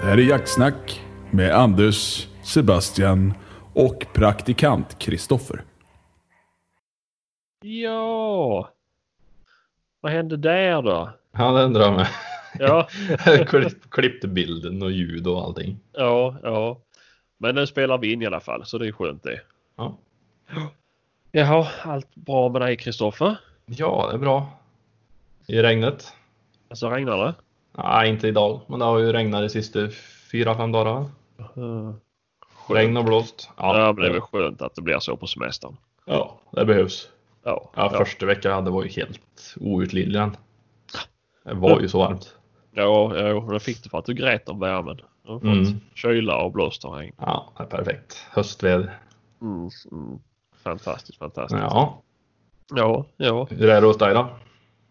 Det här är Jaktsnack med Anders, Sebastian och praktikant Kristoffer. Ja. Vad hände där då? Han ändrar mig. Ja, Klipp, klippte bilden och ljud och allting. ja, ja. Men nu spelar vi in i alla fall så det är skönt det. Ja, Jaha, allt bra med dig Kristoffer? ja det är bra. I regnet? Alltså regnar det? Nej, inte idag, men det har ju regnat de sista fyra, fem dagarna. Eh, Regn och blåst. Ja, men det är väl skönt att det blir så på semestern. ja, det behövs. Ja, Ja, ja. Första veckan jag hade var ju helt outlidlig. den. Det var ju så varmt. ja, ja men jag fick det för att du grät om värmen. Du har fått Mm. Kyla och blåst och regn. Ja, det är perfekt. Höstväder. Mm, mm. Fantastiskt, fantastiskt. Ja, Ja, ja, hur är det hos dig då?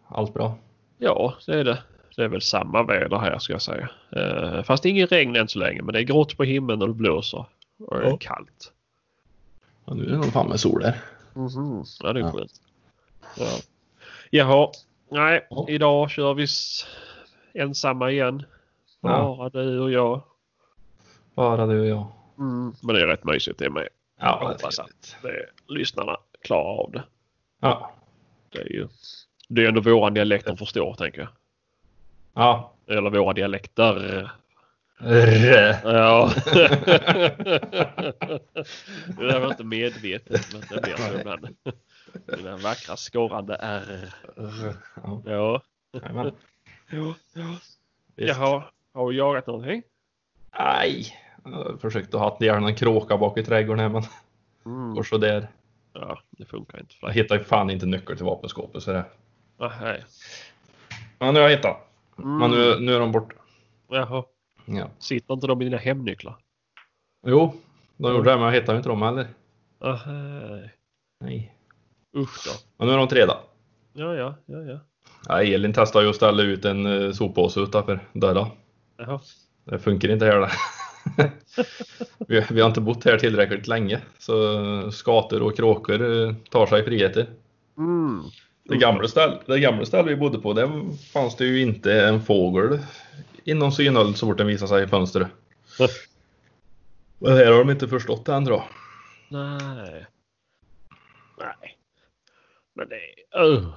Allt bra? ja, det är det. Det är väl samma väder här ska jag säga. Eh, fast ingen regn än så länge, men det är grått på himlen och det blåser. Och det är Ja. kallt. Ja, nu är det nog fan med sol där. Mhm, Ja, det är Ja. skönt. Ja. Jaha, nej, Ja. idag kör vi s- ensamma igen. Ja. Bara du och jag. Bara du och jag. Mm. Men det är rätt mysigt det med. Ja, det är Hoppas att- trevligt. Det är, lyssnarna klarar av det. Ja, Det är ju det är ändå våra dialekt de förstår, tänker jag. ja. Eller våra dialekter. eh, Rrr. Ja. det där var inte medvetet, men det blir så ibland. Dina vackra skorrande R. Ja, Ja. jajamän. ja. ja. Visst. Jaha, har du jagat någonting? Aj! Jag försökte ha ihjäl någon kråka bak i trädgården här, men går så där. Mm. Ja, det funkar inte för Jag dig. hittar ju fan inte nyckel till vapenskåpet så det. Ah, nej. Men nu har jag hittat. Mm. Men nu, nu är de borta. Jaha, Ja. sitter inte de i dina hemnycklar? Jo, de gjorde det, men jag hittade inte dem heller. Ah, nej. Nej. Usch då. Men nu är de tre då. Ja, ja, ja, ja. Ja, Elin testade ju att ställa ut en eh, soppåse utanför dörren. Jaha. Det funkar inte här. då. vi, vi har inte bott här tillräckligt länge, så skator och kråkor eh, tar sig friheter. Mm. Det gamla, ställ, det gamla stället vi bodde på, där fanns det ju inte en fågel inom synhåll så fort den visade sig i fönstret. Men här har de inte förstått det än då. Nej. Nej. Men det är... Uh.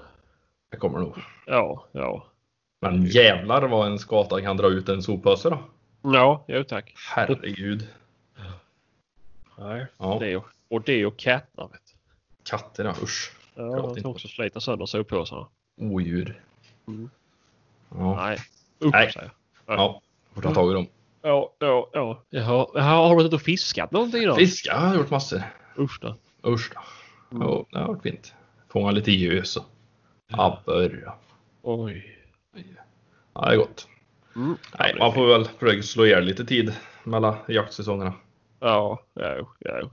Det kommer nog. Ja, ja. Men jävlar vad en skata kan dra ut en soppåse då. Ja, jo tack. Herregud. Nej. Ja, Det är, och det och katterna vet du. katter ja, usch. Ja, de kan också slita sönder soppåsarna. Odjur. Mm. Ja, Nej. Usch Nej. säger jag. ja. Får ta tag i dem. Ja, ja, ja. Jaha, Jaha, har du varit ute och fiskat någonting då? Fiska har jag gjort massor. Usch då. Usch då. Ja, det har varit fint. Fånga lite gös och abborre. Oj. Ja, det är gott. Mm. Nej, man får väl försöka slå ihjäl lite tid mellan jaktsäsongerna. Ja, jo, jo.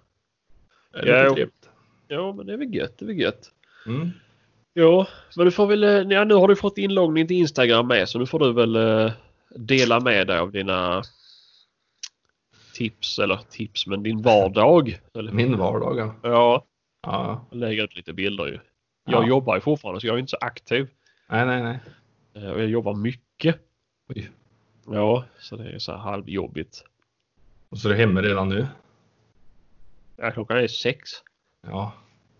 Det är lite Jo. trevligt. Ja, men det är väl gött, det är väl gött. Mm. Ja, men du får väl, eh, ja, nu har du fått inloggning till Instagram med så nu får du väl eh, dela med dig av dina tips, eller tips, men din vardag. Eller, Min vardag, ja. Ja, ja. jag lägger ut lite bilder ju. Jag Ja. jobbar ju fortfarande så jag är inte så aktiv. Nej, nej, nej. eh, Och jag jobbar mycket. Oj. Ja, så det är så här halvjobbigt. Och så är du hemma redan nu. Ja, klockan är sex. Ja,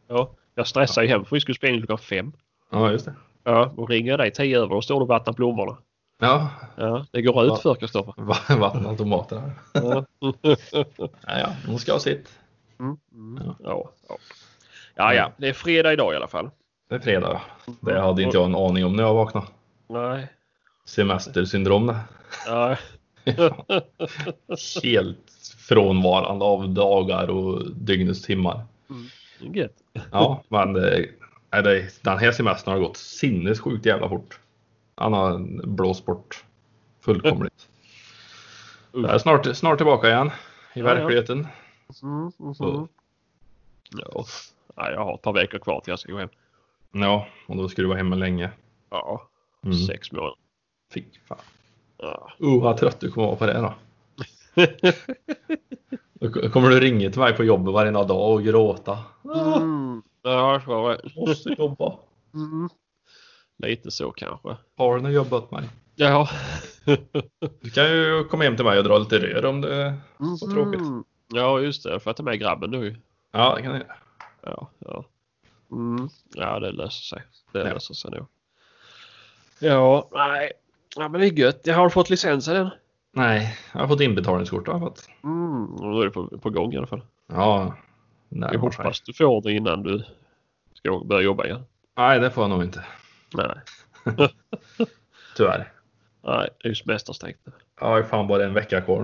Ja, jag stressar ju hem för vi skulle spela in klockan fem. ja just det. Ja, och ringer dig tio över och står du och vattnar blommorna. Ja, Ja, det går ut för Kristoffer. va- vatten och tomater. här. Ja. Ja, ja, hon ska ha sitt. Mm, mm, Ja. ja, ja. ja, ja, det är fredag idag i alla fall. Det är fredag. Det hade inte jag en aning om när jag vaknade. Nej. Semestersyndrom det. Ja. Helt frånvarande av dagar och dygnets timmar. Gött. Ja, men eh, nej, det, den här semestern har gått sinnessjukt jävla fort. Han har blåst bort fullkomligt. Jag är snart, snart tillbaka igen i Ja, ja. verkligheten. Mm, mm, Så, Ja. Nej, jag har ett par veckor kvar till jag ska gå hem. ja, och då ska du vara hemma länge. Ja, Mm. sex månader. Fy fan. Ja. Oh, vad trött du kommer vara på det då. Då k- kommer du ringa till mig på jobbet varenda dag och gråta. Ah, Mm. Ja, jag tror det. Mm. måste jobba. Lite så kanske. Har du något jobb åt mig? Ja. Du kan ju komma hem till mig och dra lite rör om det var tråkigt. Mm. Ja, just det. Får jag ta med grabben nu? Ja, det kan jag göra. Ja, ja. Mm. ja det löser sig. Det Ja. löser sig nog. Ja, nej. Ja, men det är gött. Jag har fått licensen än. Nej, jag har fått inbetalningskort. Jag har fått. Mm. och Då är det på, på gång i alla fall. Ja, nej, Jag hoppas du får det innan du ska börja jobba igen. Nej, det får jag nog inte. Nej, Tyvärr. nej det är ju semesterstängt nu. Jag har ju fan bara en vecka kvar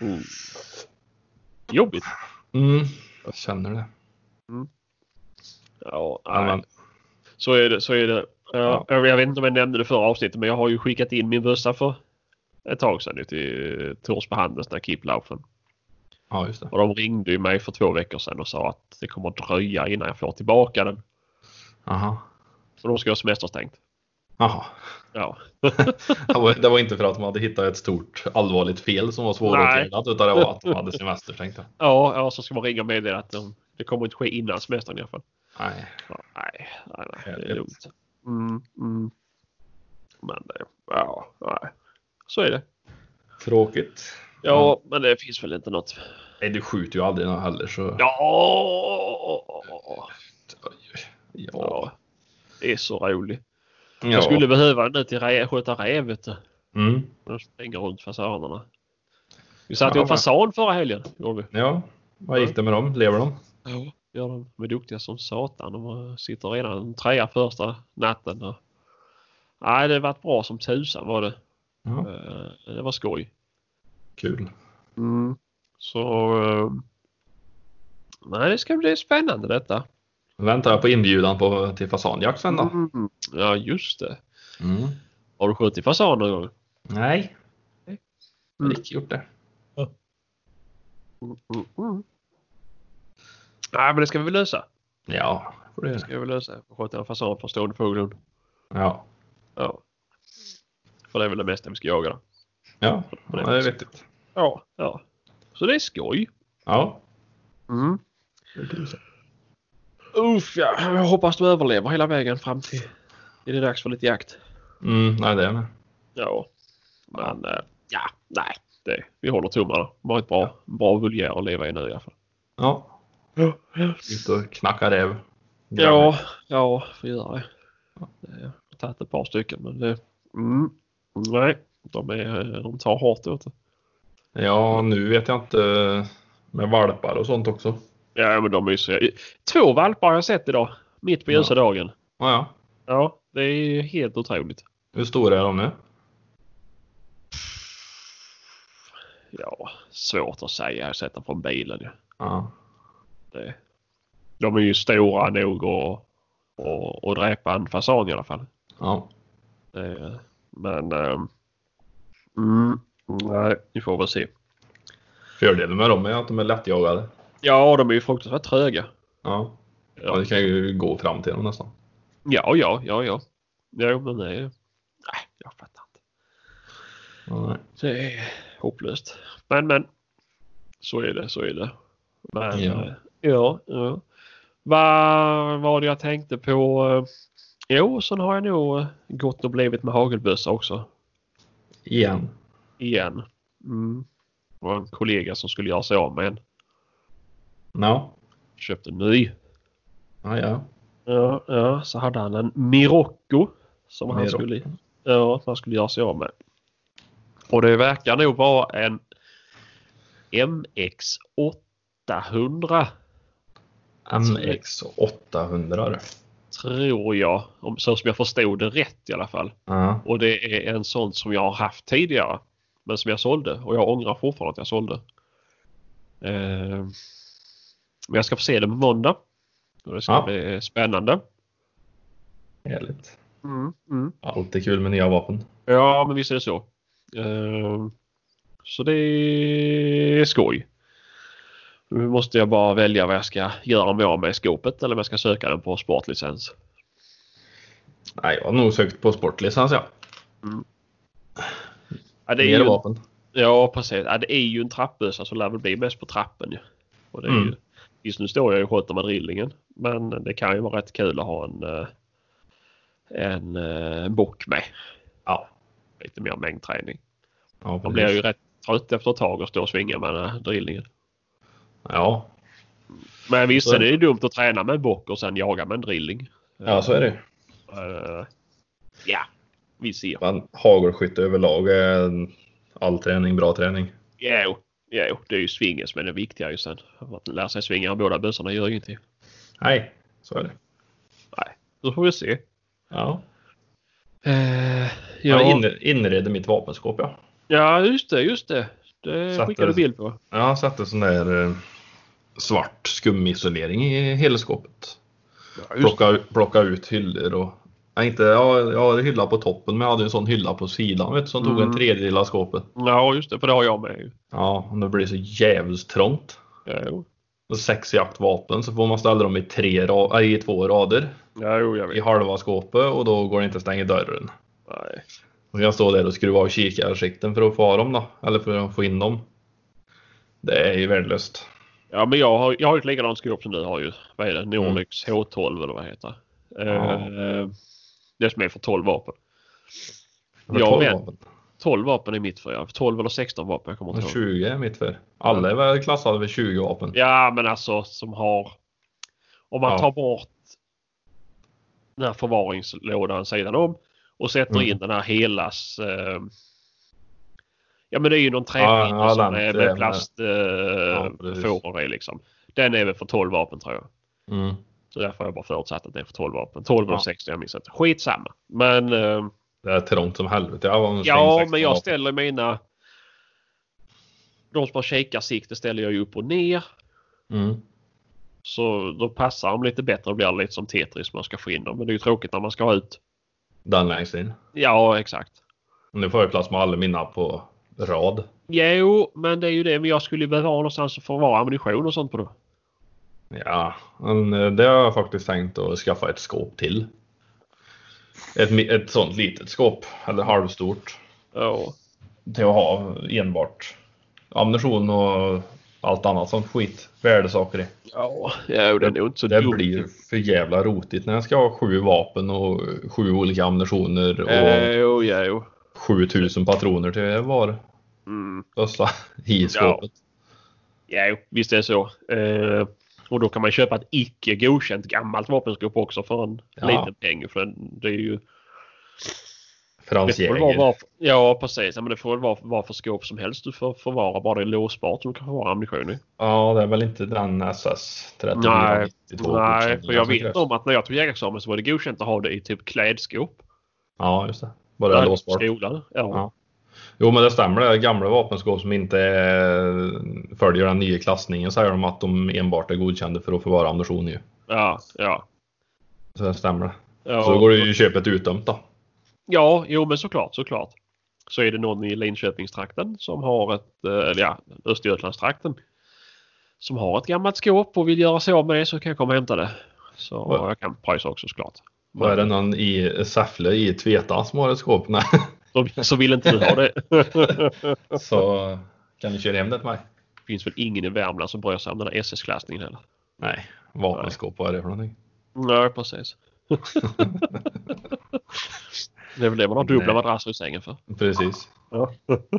nu. Jobbigt. Mm, jag känner det. Ja, Ja, nej. men, Så är det. Så är det. Ja, Jag vet inte om jag nämnde det förra avsnittet, men jag har ju skickat in min bössa för ett tag sedan ju till eh, Torsby Handels, den här Kipplaufen. ja, just det. Och de ringde ju mig för två veckor sedan och sa att det kommer att dröja innan jag får tillbaka den. Aha. Och de ska ha semesterstängt. Jaha. Ja. Det var- Det var inte för att de hade hittat ett stort allvarligt fel som var svåråtgärdat utan det var att de hade semester tänkte jag. ja, ja, så ska man ringa och meddela att de, det kommer inte ske innan semestern i alla fall. Nej, Ja, nej, nej, nej, det är Härligt. lugnt. Mm, mm. Men det, ja, nej. Så är det. tråkigt. Ja, men det finns väl inte något. Nej, du skjuter ju aldrig någon heller så. Ja, Ja. ja. Det är så roligt. ja. Jag skulle behöva den nu till rä- sköta räv. vet du. Mm. De springer runt fasanerna. Vi satte ju Ja, en men- fasan förra helgen. Gjorde vi. Ja, vad gick det med dem? Lever de? Ja. Gör de. de är duktiga som satan. De eh, sitter redan en trea första natten. och- Nej, det har varit bra som tusan var det. Ja, Eh, Det var skoj. kul. Mm. Så... eh, Nej, det ska bli spännande detta. Väntar jag på inbjudan på, till fasanjakt sen då? Ja, just det. Mm. Har du skjutit fasan någon gång? Nej, jag har Mm. inte gjort det. mm. Nej, men det ska vi väl lösa. Ja, får du Det göra. ska vi väl lösa. Skjuta en fasan från stående fågelhund. Ja, Ja. Mm. För det är väl det mesta vi ska jaga då. ja det är vettigt. Ja. ja. Så det är skoj. Ja, Mm. Uff, ja. Jag hoppas du överlever hela vägen fram till... Är det dags för lite jakt? mm, nej det är med. Ja. Men eh, ja, nej. Det, vi håller tummarna. De har ett bra, bra vulgär att leva i nu i alla fall. Ja, Ja, ut och knacka räv. ja, ja får göra det. Eh, Jag har tagit ett par stycken men det... Mm, nej, de, är, eh, de tar hårt åt det. Ja, nu vet jag inte med valpar och sånt också. Ja, men de är ju så... Två valpar har jag sett idag. Mitt på Ja. ljusa dagen. Ja, ja. Ja, det är ju helt otroligt. Hur stora är de nu? Ja, svårt att säga. Jag har sett dem från bilen. Ja. Ja, Det, de är ju stora nog att och, och dräpa en fasan i alla fall. ja. Det, men... ehm, mm, nej, vi får väl se. Fördelen med dem är att de är lättjagade. Ja, de är ju fruktansvärt tröga. Ja, ja Ja, du kan ju gå fram till dem nästan. ja, ja, ja. ja. Jo, men det är... Nej, jag fattar inte. Ja, nej. Det är hopplöst. Men, men. Så är det, så är det. Men, Ja. ja. ja, ja. Vad var det jag tänkte på? Eh, Jo, sen har jag nog eh, gått och blivit med hagelbössa också. Igen. Igen. Mm. Det var en kollega som skulle göra sig av med en. Ja. Köpte en ny. Ja, ja. Ja, ja, så hade han en Mirocco. Som han Mirocco. skulle, ja, som han skulle göra sig av med. Och det verkar nog vara en MX 800 MX 800 du. tror jag. Om, så som jag förstod det rätt i alla fall. Ja. Och det är en sån som jag har haft tidigare. Men som jag sålde. Och jag ångrar fortfarande att jag sålde. Eh, men jag ska få se den på måndag. Och det ska Ja. bli spännande. Härligt. Mm, mm. Alltid kul med nya vapen. Ja, men visst är det så. Ehm, så det är skoj. Nu måste jag bara välja vad jag ska göra med av mig i skåpet eller om jag ska söka den på sportlicens. Nej, jag har nog sökt på sportlicens ja. Ja, det är Mer ju, vapen. ja precis. Ja, det är ju en trappbössa så det lär väl bli mest på trappen. Ju. Och det är ju, Mm. just nu står jag ju och sköter med drillingen. Men det kan ju vara rätt kul att ha en, eh, en eh, bock med. Ja. lite mer mängdträning. Ja, Man precis. blir ju rätt trött efter ett tag och stå och svinga med den här drillningen. ja. Men visst Så är är det. det ju dumt att träna med en bock och sen jaga med en drilling. ja, så är det Eh, ja, vi ser. Men hagelskytte överlag är en- all träning bra träning. Jo, jo, det är ju svingen som är det viktiga ju sen. Att lära sig svinga med båda bössorna gör ju ingenting. Nej, så är det. Nej, då får vi se. Ja. Eh, Jag ja, inre- inredde mitt vapenskåp ja. ja, just det, just det. Det Satte- skickade du bild på. Jag satte sån där eh, svart skumisolering i hela skåpet. Ja, just Plocka, plocka ut hyllor och Nej, inte, jag, jag har en hylla på toppen men jag hade en sån hylla på sidan vet, du, som tog en Mm. tredjedel av skåpet. Ja, just det. För det har jag med ju. Ja, och det blir så jävligt trångt. Ja, jo. Och sex jaktvapen så får man ställa dem i, tre ra- äh, i två rader Ja, jo, jag i vet. halva skåpet och då går det inte att stänga dörren. Nej. Och jag står där och skruvar av kikarsikten för att få av dem då, eller för att få in dem. Det är ju värdelöst. Ja, men jag har, jag har ju ett likadant skrop som du har ju. Vad är det? Nordex H12 eller vad det heter. Ja. Eh, det som är för 12 vapen. Jag har Jag 12 vet. vapen. 12 vapen är mitt för jag. 12 eller 16 vapen, jag kommer Och inte ihåg. 20 är mitt för. Alla är väl klassade för 20 vapen. Ja, men alltså som har... Om man Ja. tar bort den här förvaringslådan sidan om och sätter Mm. in den här helas... Eh, ja, men det är ju någon Ja, träpinne ja, som den, är det är med med. plastfåror eh, precis. fåror i liksom. Den är väl för 12 vapen tror jag. Mm. Så därför har jag bara förutsatt att det är för 12 vapen. 12 Ja. och 16, jag minns inte. Skitsamma. Men... Eh, Det är trångt som helvete. Jag var Ja, men jag ställer mina... De som har kikarsikte ställer jag ju upp och ner. Mm. Så då passar de lite bättre och blir det lite som Tetris man ska få in dem. Men det är ju tråkigt när man ska ha ut. Den längst in. Ja, exakt. Nu får jag plats med alla mina på rad. Jo, men det är ju det. Men jag skulle ju behöva ha någonstans att förvara ammunition och sånt på då. Ja, men eh, det har jag faktiskt tänkt att skaffa ett skåp till. Ett, mi- ett sånt litet skåp, eller halvstort. Ja. Till att ha enbart ammunition och allt annat sånt skit. Värdesaker i. Ja, ja det är nog inte så Det dumt. blir för jävla rotigt när jag ska ha sju vapen och sju olika ammunitioner och Eh, Jo, ja, jo. 7000 patroner till var Mm. ösla i skåpet. Ja, jo, visst är det så. Eh, och då kan man köpa ett icke godkänt gammalt vapenskåp också för en Ja. liten peng. För en- det är ju... Frans Det får väl vara Jäger. var, ja, precis. Ja, men det får väl vara vad för skåp som helst du får förvara. Bara det är låsbart som du kan förvara ammunition i. Ja, det är väl inte den SS 3492 Nej, för alltså, jag vet om att när jag tog jägarexamen så var det godkänt att ha det i typ klädskåp. Ja, just det. Bara Där, låsbart. Skolan. Ja. Ja. Jo, men det stämmer. Det är gamla vapenskåp som inte eh, följer den nya klassningen säger de att de enbart är godkända för att förvara ammunition i. Ja. ja. Så det stämmer det. ja. Så då går det ju att köpa ett utdömt då. Ja, jo men såklart, såklart. Så är det någon i Linköpingstrakten som har ett, eh, eller ja, Östergötlandstrakten. Som har ett gammalt skåp och vill göra sig av med det så kan jag komma och hämta det. Så Vad- jag kan pröjsa också såklart. Vad är det någon i Säffle i Tveta som har ett skåp? Nej. Så, så vill inte du ha det. Så kan ni köra hem det till mig? Det finns väl ingen i Värmland som bryr sig om den här SS-klassningen heller. Nej, vapenskåp, vad är det för någonting? Nej, precis. det är väl det man har dubbla Nej. madrasser i sängen för. Precis. Ja.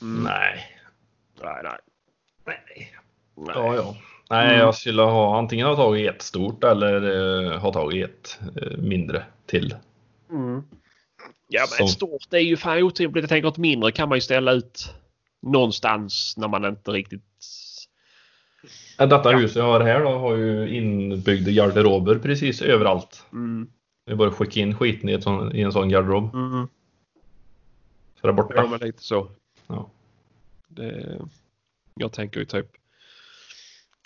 Nej. Nej, nej. Nej. nej. Ja, ja. Mm. Nej, jag skulle ha antingen ha tagit ett stort eller eh, ha tagit ett eh, mindre till. Mm. Ja, men Som- ett stort är ju fan otympligt. Jag tänker att mindre kan man ju ställa ut någonstans när man inte riktigt... Ja, Äh, Detta huset jag har här då, har ju inbyggda garderober precis överallt. Mm. Det är bara att skicka in skiten i, ett sån, i en sån garderob Mm. så är det Ja, borta. men lite så. Ja. Det... Jag tänker ju typ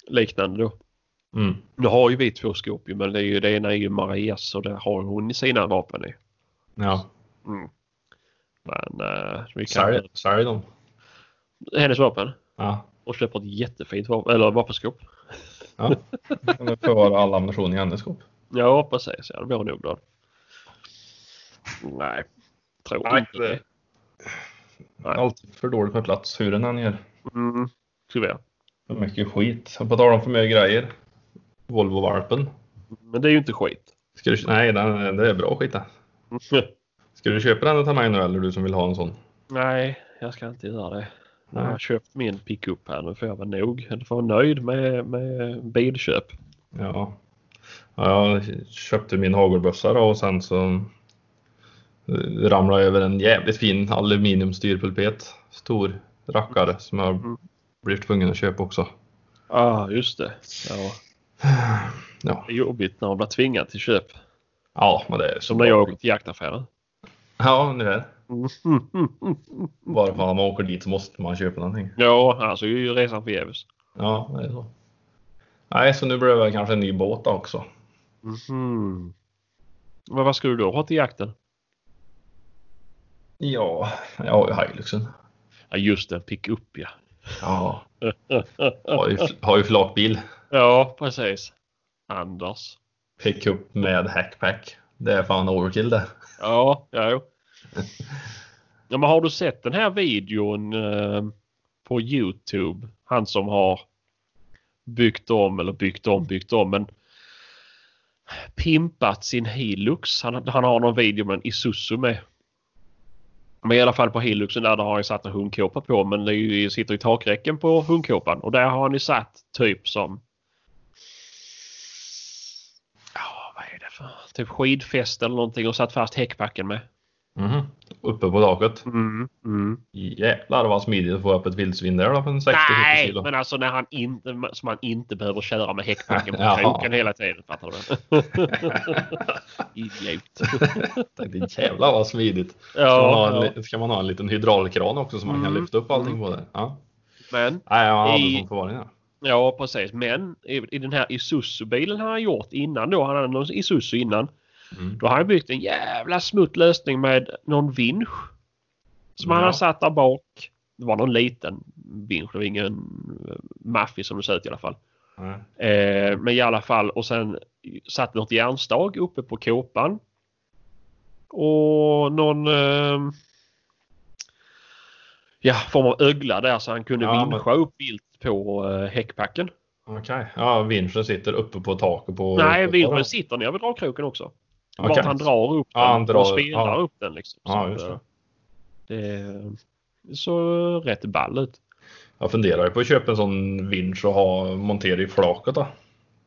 liknande då. Mm. Nu har ju vi två skåp ju, men det, är ju, det ena är ju Marias och det har hon sina vapen i. Ja. Men eh, vi kan... Sälj, sälj dem. Hennes vapen. Ja. Och köper ett jättefint vapen, eller vapenskåp. ja. Då kan du förvara all ammunition i hennes skåp. Ja, precis. Ja, det vore nog bra. Nej, tror Nej, inte det det. är alltid för dåligt med plats hur den än gör. Mm, tyvärr. För mycket skit. Och På tal om för mycket grejer. Volvo-valpen. Men det är ju inte skit. Ska du, nej, den, det är bra skit det. Ska du köpa den till mig nu eller du som vill ha en sån? Nej, jag ska inte göra det. Jag har köpt min pickup här. Nu får jag vara nog. Jag får vara nöjd med, med bilköp. Ja. ja, jag köpte min hagelbössa då och sen så eh, ramlade jag över en jävligt fin aluminiumstyrpulpet. Stor rackare som jag blir tvungen att köpa också. Ja, ah, just det. Ja. Ja, Det är jobbigt när man blir tvingad till köp. ja men det är Som när jag åker till jaktaffären. Ja, ungefär. Mm, Bara för att man åker dit så måste man köpa någonting. Ja, alltså det är ju resan förgäves. Ja, det är så. Nej, så nu blir det väl kanske en ny båt då också. Mhm. Men vad ska du då ha till jakten? Ja, jag har ju Hiluxen. Ja, just en pickup ja. Ja. Har ju, har ju flakbil. Ja, precis. Anders. Pickup med hackpack. Det är fan overkill det. Ja, ja, jo. ja men har du sett den här videon eh, på Youtube? Han som har byggt om eller byggt om, byggt om men pimpat sin Hilux. Han, han har någon video med en Isuzu med. Men i alla fall på Hiluxen där, där har han ju satt en hundkåpa på men det är ju, sitter i takräcken på hundkåpan och där har han ju satt typ som Ja, vad är det för? Typ skidfäste eller någonting och satt fast häckpacken med. Mhm. Uppe på taket. Mm, mm. Jävlar vad smidigt att få upp ett vildsvin där då på en 60-70 Nej, kilo. men alltså när han inte, som han inte behöver köra med häckpacken på Jaha. kroken hela tiden. Fattar du? Idiot. Tänkte, jävlar vad smidigt. Ska, man Ja, ha ja. en, li- ska man ha en liten hydraulkran också så man kan Mm. lyfta upp allting på det? Ja. Men, Nej, man hade I- sån förvaring där. ja precis. Men i, i den här Isuzu-bilen han har gjort innan då, han hade någon Isuzu innan. Mm. Då har han byggt en jävla smutt lösning med någon vinsch. Som han Ja. har satt där bak. Det var någon liten vinsch, det var ingen eh, maffig som det såg ut i alla fall. Nej. Eh, men i alla fall och sen satt något järnstag uppe på kåpan. Och någon eh, ja, form av ögla där så han kunde Ja, men- vinscha upp vilt på eh, häckpacken. Okej. Ja, vinschen sitter uppe på taket på... Nej, på- vinschen sitter nere vid dragkroken också. Okej. Vart han drar upp Ja, den han drar- och spelar ja. upp den. Liksom. Så Ja, att, just det. eh, det det såg rätt ball ut. Jag funderar ju på att köpa en sån vinsch och ha montera i flaket då.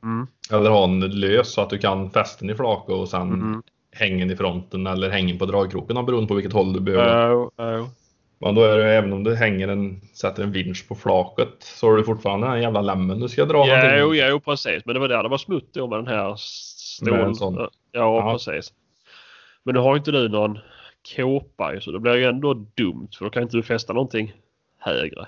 Mm. Eller ha en lös så att du kan fästa den i flaket och sen Mm. hänga den i fronten eller hänga den på dragkroken då, beroende på vilket håll du behöver. Oh, oh. Men då är det ju även om du hänger en, sätter en vinsch på flaket så har du fortfarande den här jävla lämmen du ska dra någonting. Jo, jo, precis. Men det var där det var smutt då med den här stål... Med en sån. Ja, Ja. precis. Men nu har ju inte du någon kåpa ju, så det blir ju ändå dumt för då kan inte du fästa någonting högre.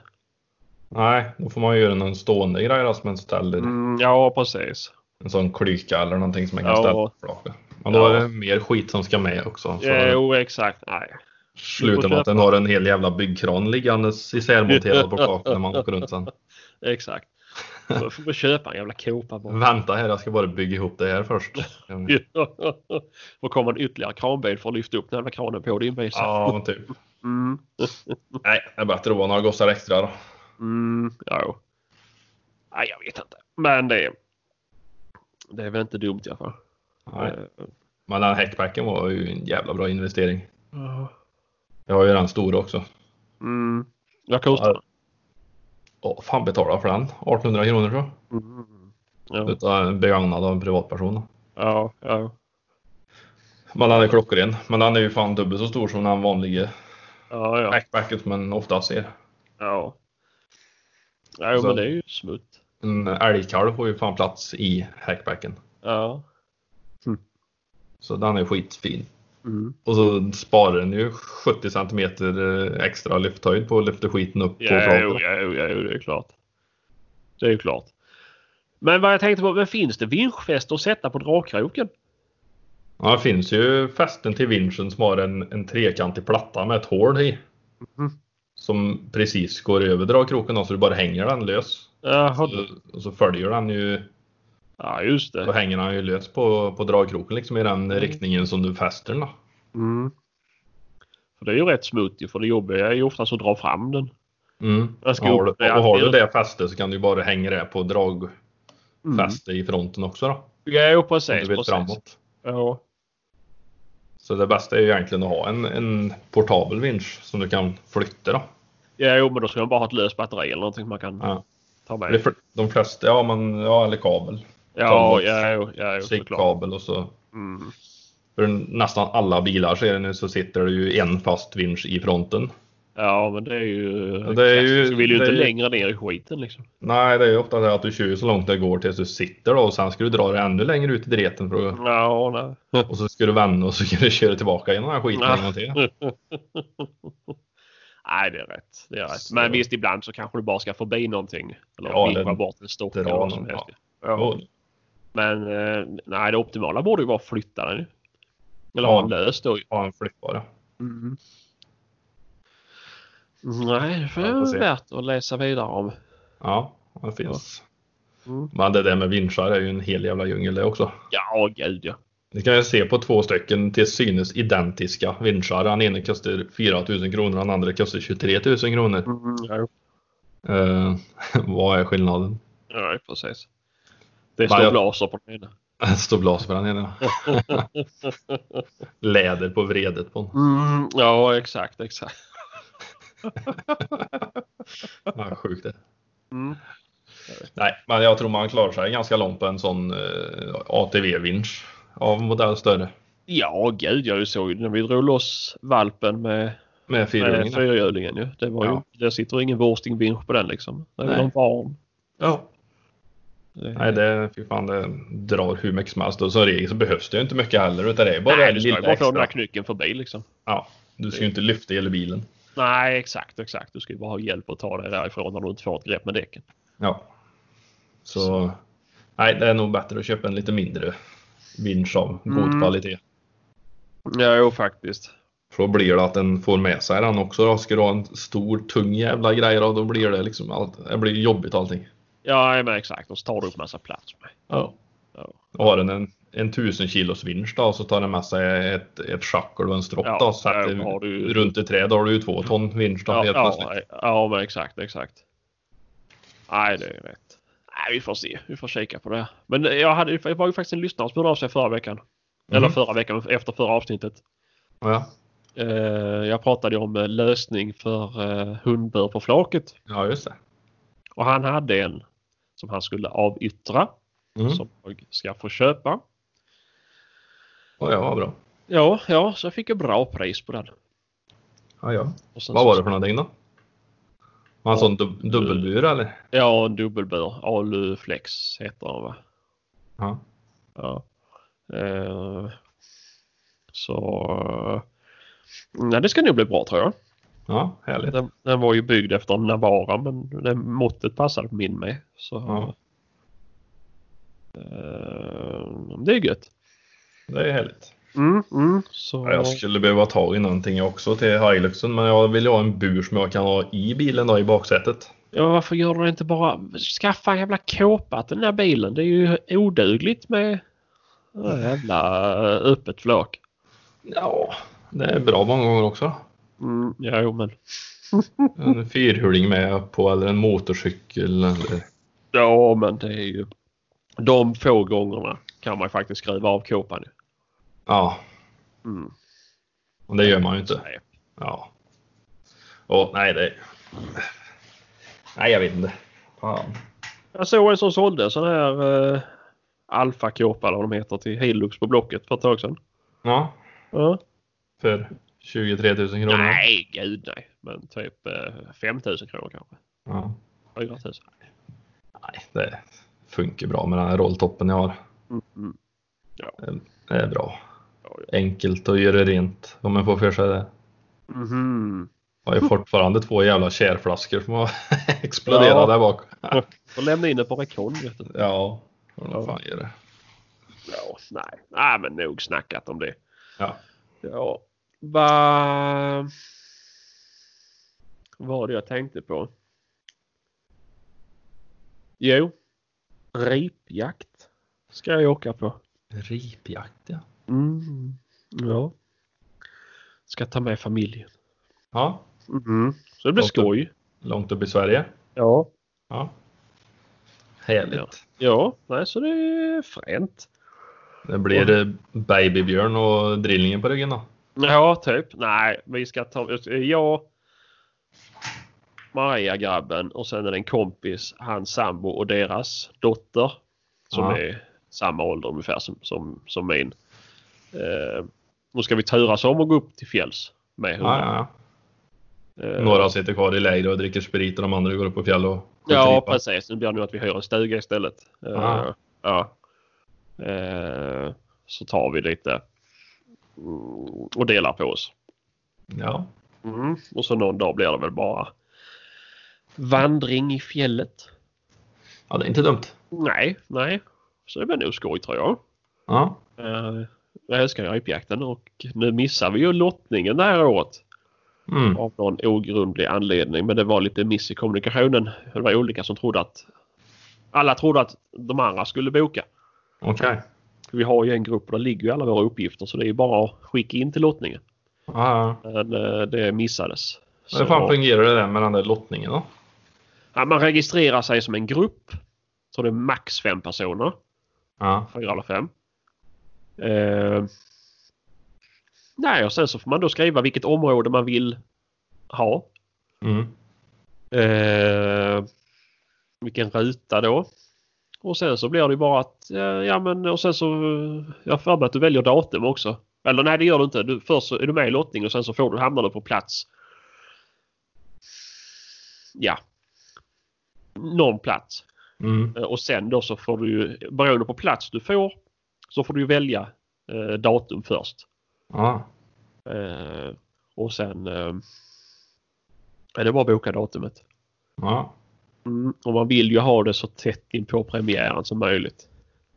Nej, då får man ju göra någon stående grej då, som en ställer. Mm, ja, precis. En sån klyka eller någonting som man kan Ja. ställa på flaket. Men då Ja. är det mer skit som ska med också. Så Jo, exakt. Nej. slutar med att den har en hel jävla byggkran liggandes isärmonterad på flaket när man åker runt sen. Exakt. Då får man köpa en jävla kåpa bara. Vänta här, jag ska bara bygga ihop det här först. Då kommer en ytterligare kranbil för att lyfta upp den jävla kranen på din bil. sen. Ja, men typ. Mm, Nej, det är bättre att vara några gossar extra då. mm, ja. Nej, jag vet inte. Men det, det är väl inte dumt i alla fall. Nej. Eh, Men den hackpacken var ju en jävla bra investering. Ja. Jag har ju den stora också. Mm. Vad kostar den? Åh, fan betala för den. 1800 kronor tror jag. Mm. Ja. Utav en Begagnad av en privatperson. Ja, ja, Men den är klockren. Men den är ju fan dubbelt så stor som den vanliga ja, ja. hackpacken som man ofta ser. ja. ja jo, Så- men det är ju smutt. En älgkalv får ju fan plats i hackpacken. Ja. Så den är skitfin. Mm. Och så sparar den ju 70 centimeter eh, extra lyfthöjd på att lyfta skiten upp på Ja, jo, fronten. ja, jo, ja, jo, det är klart. Det är ju klart. Men vad jag tänkte på, men finns det vinschfäste att sätta på dragkroken? Ja, det finns ju fästen till vinschen som har en, en trekantig platta med ett hål i. Mhm. Som precis går över dragkroken då, så du bara hänger den lös. Jaha. Och- Och så följer den ju, Ja, just då det. hänger den ju lös på, på dragkroken liksom i den riktningen som du fäster den då. Mm. För det är ju rätt smutt ju, för det jobbiga är ju oftast att dra fram den. Mm. Jag ska Ja, har, upp du, det och har du alltid. det fästet så kan du ju bara hänga det på dragfäste i fronten också då. Mm. Ja, jo, Om du precis. vill precis. framåt. Ja. Så det bästa är ju egentligen att ha en, en portabel vinsch som du kan flytta. Då. Ja, jo, men då ska man bara ha ett löst batteri eller någonting man kan Ja. ta Det är med. för- De flesta, ja, men, ja eller kabel. Ja, ja, jo, ja, jo, såklart. Stickkabel och så. Mm. För nästan alla bilar så är det nu så sitter det ju en fast vinsch i fronten. Ja, men det är ju... Ja, det är ju- Du vill ju det är inte ju- längre ner i skiten liksom. Nej, det är ju ofta det att du kör ju så långt det går tills du sitter då och sen ska du dra det ännu längre ut i dreten för att, Ja, nej. och så ska du vända och så ska du köra tillbaka i den här skiten Ja. en gång till. Nej, det är rätt. Det är rätt. Så- Men visst, ibland så kanske du bara ska förbi någonting. Eller Ja, vinkla eller bort en stock dra eller vad som någon, helst. ja. Ja. Och- Men eh, nej, det optimala borde ju vara att flytta den. ju. Eller Ja. ha den lös då. ju. Mm. Ja, en flyttbara. Nej, det Ja, får är se. värt att läsa vidare om. Ja, det finns. Mm. Men det där med vinschar är ju en hel jävla djungel det också. Ja, gud ja. Ni kan ju se på två stycken till synes identiska vinschar. Den ena kostar 4 000 kronor, den andra kostar 23 000 kronor. Mm, ja. Eh, vad är skillnaden? ja, precis. Det Men står Mm. jag- glaser på den ena. Det står blas på den ena. Läder på vredet på den. Mm, ja, exakt, exakt. Ja, sjukt det. Mm. Nej, men jag tror man klarar sig ganska långt på en sån eh, ATV-vinsch av modell större. Ja, gud, jag såg ju när vi drog loss valpen med Med Nej, fyrhjulingen. fyrhjulingen ju. Det var ju, Ja. där sitter ingen wurstingvinsch på den liksom. Det är väl Nej. en barn. Ja. Det- Nej, det, fy fan, det drar hur mycket som helst. Och som regel så behövs det ju inte mycket heller. Utan det är bara Nej, det du ska ju lilla bara få den extra. här knycken förbi liksom. Ja, du ska ju inte lyfta hela bilen. Nej, exakt, exakt. Du ska ju bara ha hjälp att ta dig därifrån när du inte får ett grepp med däcken. Ja. Så nej, det är nog bättre att köpa en lite mindre vinsch av god Mm. kvalitet. Ja, jo faktiskt. För då blir det att den får med sig den också. Då. Ska du ha en stor tung jävla grej då, då blir det liksom allt. Det blir jobbigt allting. Ja, men exakt. Och så tar du upp massa plats med. Ja. Ja. Då har den en, en 1000 kilos vinsch då och så tar den med sig ett, ett schackel och en stropp Ja, då. Så att där har du- runt ett träd då har du ju två ton vinsch då Ja, helt plötsligt. ja, ja, men exakt, exakt. Nej, det är rätt. Nej, vi får se. Vi får kika på det. Men jag hade ju- det var ju faktiskt en lyssnare som hörde av sig förra veckan. Eller Mhm. förra veckan, efter förra avsnittet. Ja. Eh, jag pratade ju om eh, lösning för eh, hundbur på flaket. ja, just det. Och han hade en som han skulle avyttra. Mm. Som jag ska få köpa. Ja, ja, vad bra. Ja, ja, så jag fick ett bra pris på den. Ja, ja. Och sen Vad så- var det för någonting då? Var en sån dub- dubbelbur eller? Ja, en dubbelbur. Aluflex heter den va? Ja. Ja. Eh, så... eh, Nej, det ska nog bli bra tror jag. Ja, härligt. Den, den var ju byggd efter en Navara men det måttet passade på min med. Så... Ja. Eh, det är gött. Det är härligt. Mm, mm, så... Ja, Jag skulle behöva ta i någonting också till Hiluxen men jag vill ju ha en bur som jag kan ha i bilen då i baksätet. Ja, varför gör du inte bara... Skaffa en jävla kåpa till den här bilen. Det är ju odugligt med ja, jävla eh, öppet flak. Ja, det är bra många gånger också. Mm, ja, jo, men... En fyrhjuling med på eller en motorcykel eller... Ja, men det är ju... De få gångerna kan man ju faktiskt skruva av kåpan. ju. Ja, Mm. och det gör man ju inte. Nej. Ja. Och nej, det... Nej, jag vet inte. Fan. Jag såg en som sålde en sån här eh, alfa-kåpa eller vad de heter till Hilux på Blocket för ett tag sedan. Ja, Ja. för 23 000 kronor. Nej, gud nej. Men typ eh, 5 000 kronor kanske. Ja. 4 000. Nej, det funkar bra med den här rolltoppen jag har. Mm, mm. Det är bra. Ja, ja. Enkelt att göra rent om man får för sig det. Mhm. Jag har ju fortfarande två jävla kärflaskor som har exploderat Ja. där bak. Får lämna in det på rekord vet du. Ja, vad fan gör det? Ja, nej. nej, men nog snackat om det. Ja. Ja, vad... Vad var det jag tänkte på? Jo, ripjakt ska jag åka på. Ripjakt ja. Mm. Ja. Ska ta med familjen. Ja, Mm. Så det blir Låter- skoj. långt upp i Sverige. Ja. Ja. Härligt. Ja, nej, så det är fränt. Det blir eh, babybjörn och drillningen på ryggen då. Ja, typ. Nej, vi ska ta... Jag, Maria, grabben och sen är det en kompis, hans sambo och deras dotter. Som Ja. är samma ålder ungefär som, som, som min. Eh, nu ska vi turas om och gå upp till fjälls med Ja, hunden. ja, ja. Eh, Några sitter kvar i läger och dricker sprit och de andra går upp på fjäll och skjuter Ja, ripa. precis. Nu blir det nog att vi hyr en stuga istället. Eh, Ja. ja. Eh, så tar vi lite mm, och delar på oss. Ja. Mm. Och så någon dag blir det väl bara vandring i fjället. ja, det är inte dumt. Nej, nej. Så det blir nog skoj tror jag. Ja, Eh, jag älskar ju ripjakten och nu missar vi ju lottningen det här året. mm. Av någon ogrundlig anledning. Men det var lite miss i kommunikationen. Det var olika som trodde att... Alla trodde att de andra skulle boka. okej. Vi har ju en grupp och där ligger ju alla våra uppgifter så det är ju bara att skicka in till lottningen. Ja, Men eh, det missades. ja. Så- Hur fan fungerar det där med den där lottningen då? Ja, man registrerar sig som en grupp. Så det är max fem personer. Ja, Fyra eller fem. Eh, nej, och sen så får man då skriva vilket område man vill ha. mm. Eh, vilken ruta då. Och sen så blir det ju bara att, eh, ja men och sen så, eh, jag har för mig att du väljer datum också. Eller nej det gör du inte. Du, först så är du med i lottning och sen så får du, hamnar du på plats. Ja. Någon plats. Mm. Eh, Och sen då så får du ju, beroende på plats du får, så får du ju välja eh, datum först. Ja. Eh, och sen... Eh, är det bara att boka datumet. Ja. Mm, och man vill ju ha det så tätt in på premiären som möjligt.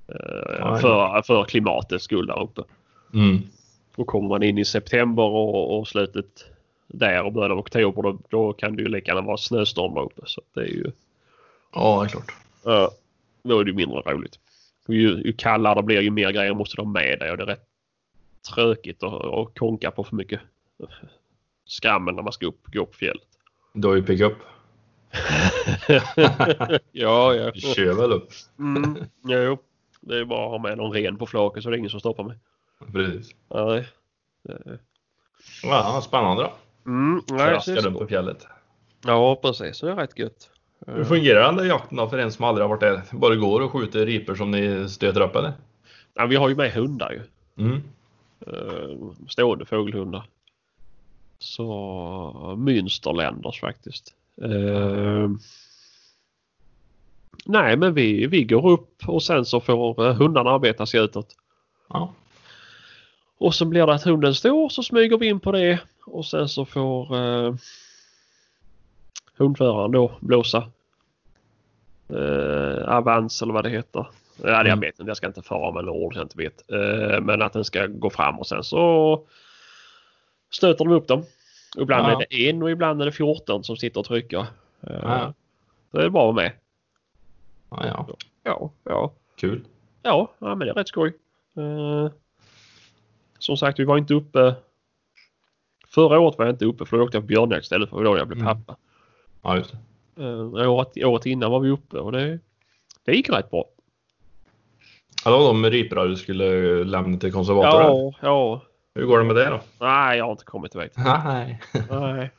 Eh, Ja, för, för klimatets skull där uppe. Mm. Och kommer man in i september och, och slutet där och början av oktober då, då kan det ju lika gärna vara snöstorm där uppe. Så att det är ju... ja, det är klart. Uh, då är det ju mindre roligt. Och Ju, ju kallare det blir ju mer grejer måste de ha med dig och det är rätt trökigt att, att konka på för mycket skrammel när man ska upp, gå upp fjället. Du har ju pickup. ja, ja. Du kör väl upp? Mm, jo, jo. Det är bara att ha med någon ren på flaket så det är ingen som stoppar mig. Precis. Nej. Ja, vad spännande då. Mm, nej, så det är Traskar runt på skoj. fjället. ja, precis. Så det är rätt gött. Hur fungerar den där jakten då för en som aldrig har varit där? Bara går och skjuter ripor som ni stöter upp eller? Ja, vi har ju med hundar ju. Mm. Eh, stående fågelhundar. Så Münsterländers faktiskt. Eh, nej, men vi, vi går upp och sen så får eh, hundarna arbeta sig utåt. Ja. Och så blir det att hunden står så smyger vi in på det och sen så får eh, hundföraren då blåsa. Eh, avans eller vad det heter. Ja, det jag Mm. vet inte. Jag ska inte föra med några ord jag inte vet. Eh, men att den ska gå fram och sen så stöter de upp dem. Ibland Ja. är det en och ibland är det 14 som sitter och trycker. Eh, Ja. Så det är bra att vara med. Ja, ja. Ja, ja. Kul. Ja, ja men det är rätt skoj. Eh, som sagt, vi var inte uppe. Förra året var jag inte uppe för då åkte jag på björnjakt istället för då jag blev Mm. pappa. Ja, just det. Eh, året, året innan var vi uppe och det, det gick rätt bra. Ja, det var de riporna du skulle lämna till konservatorn. Ja, ja. Hur går det med det då? Nej, jag har inte kommit iväg. Nej. Nej.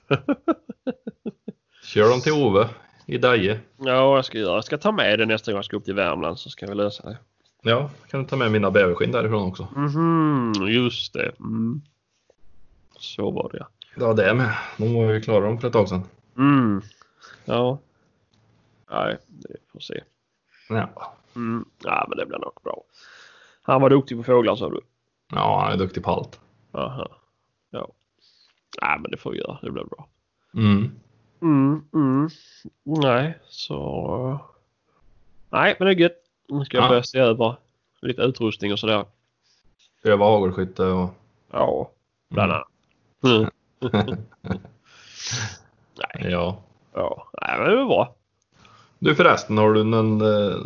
Kör dem till Ove i Deje. Ja, jag ska göra. Jag ska ta med det nästa gång jag ska upp till Värmland så ska vi lösa det. Ja, kan du ta med mina bäverskinn därifrån också? Mhm, just det. Mm. Så var det ja. Ja, det är med. De var ju klara dem för ett tag sedan. Mm. Ja. Nej, det får se. Ja, Mm. Ja, men det blir nog bra. Han var duktig på fåglar sa du? ja han är duktig på allt. Aha. Ja. Nej, men det får vi göra. Det blir bra. Mm. Mm, mm. Nej, så... eh, Nej, men det är gött. Nu ska jag Ja. börja se över lite utrustning och sådär. Öva hagelskytte och... Ja, bland annat. Mm. Ja. Ja, nej, men det var bra. Du förresten, har du någon eh,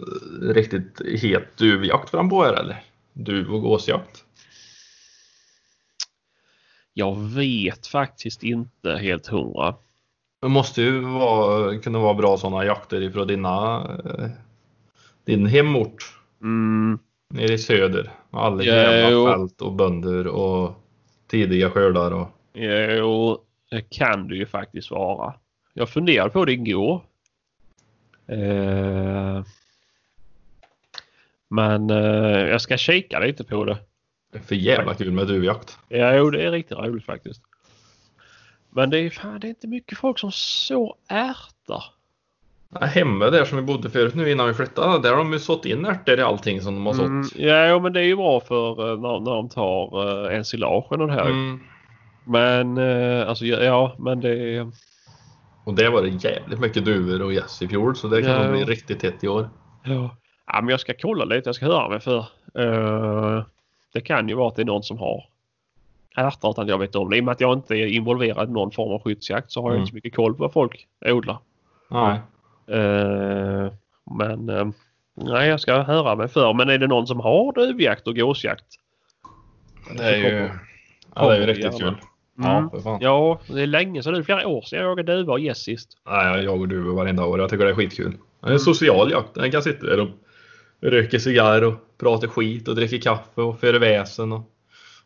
riktigt het duvjakt fram på er eller? Duv och gåsjakt? Jag vet faktiskt inte helt hundra. Det måste ju vara, kunna vara bra sådana jakter ifrån dina, eh, din hemort. Mm. Nere i söder. Alla Ja, jo. jävla fält och bönder och tidiga skördar och... Jo, det kan du ju faktiskt vara. Jag funderade på det igår. Eh, men eh, jag ska kika lite på det. Det är för jävla kul med duvjakt. Ja, jo, det är riktigt roligt faktiskt. Men det är, fan, det är inte mycket folk som så ärtar. Ja, Hemma där som vi bodde förut nu innan vi flyttade, där har de ju sått in ärtor i allting som de har sått. Mm, ja, jo, men det är ju bra för eh, när, när de tar eh, ensilagen och det här. Mm. Men eh, alltså, ja, ja, men det är... Och där var det jävligt mycket duvor och gäss i fjol, så det kan Ja. nog bli riktigt tätt i år. Ja. ja, men jag ska kolla lite. Jag ska höra mig för. Eh, det kan ju vara att det är någon som har ärtor utan att jag vet om det. I och med att jag inte är involverad i någon form av skyddsjakt så har jag Mm. inte så mycket koll på vad folk odlar. Nej. Eh, men eh, nej, jag ska höra mig för. Men är det någon som har duvjakt och gåsjakt? Det är ju... Ja, det är ju riktigt kul. Mm. Ja, för fan. Ja, det är länge sedan. Det är flera år sedan jag jagade duva och gäss sist. Nej, jag jagar duvor varenda år. Jag tycker det är skitkul. Det är en social jakt. Den kan sitta där och röka cigarr och prata skit och dricka kaffe och föra väsen. Och,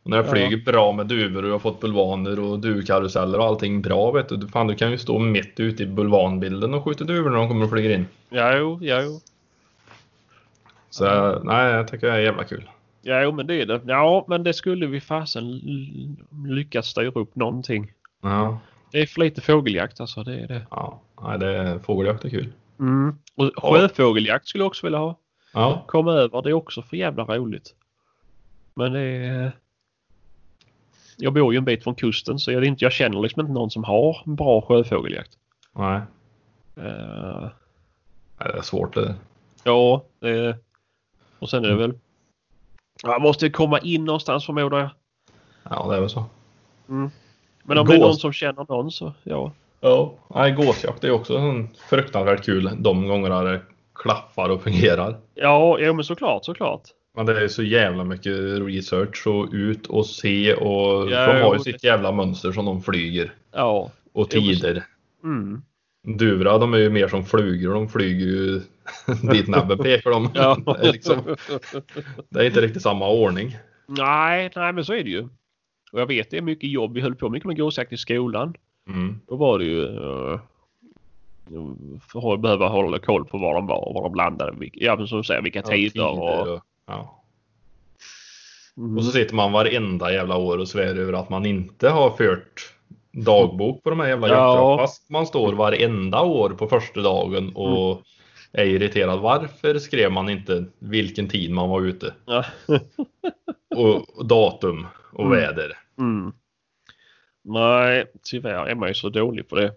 och när det Ja. flyger bra med duvor och jag har fått bulvaner och duvkaruseller och allting bra vet du. Fan, du kan ju stå mitt ute i bulvanbilden och skjuta duvor när de kommer och flyger in. Ja, jo, ja, jo. Så eh, nej, jag tycker det är jävla kul. Ja, jo, men det är det. Ja, men det skulle vi fasen l- lyckas styra upp någonting. Ja, Det är för lite fågeljakt alltså. Det är det. ja. Nej, det, fågeljakt är kul. Och sjöfågeljakt skulle jag också vilja ha. Ja, Komma över. Det är också för jävla roligt. Men det är... eh, Jag bor ju en bit från kusten så jag, är inte, jag känner liksom inte någon som har en bra sjöfågeljakt. nej. Eh, Nej, det är svårt det där. ja, eh, och sen är det väl... Jag måste ju komma in någonstans förmodar jag. Ja, det är väl så. Men om det är Gås. någon som känner någon så ja. Ja, nej, gåsjakt är också en fruktansvärt kul de gångerna det klaffar och fungerar. Ja, jo, men såklart, såklart. Men det är så jävla mycket research och ut och se och Ja, de har ju jo, sitt jävla mönster som de flyger Ja. och Jo, precis. tider. Mm. Duvra de är ju mer som flugor, de flyger ju dit näbben pekar de. Ja. Det är liksom, det är inte riktigt samma ordning. Nej, nej, men så är det ju. Och jag vet det är mycket jobb. Vi höll på mycket med gåsjakt i skolan. Mm. Då var det ju eh, för att behöva hålla koll på var de var och var de landade. Vilk- Ja, men som du säger, vilka tider och... ja. Mm. Och så sitter man varenda jävla år och svär över att man inte har fört dagbok på de här jävla Ja. jakterna. Fast man står varenda år på första dagen och Mm. är irriterad. Varför skrev man inte vilken tid man var ute? Ja. Och datum och Mm. väder. Mm. Nej, tyvärr är man ju så dålig på det.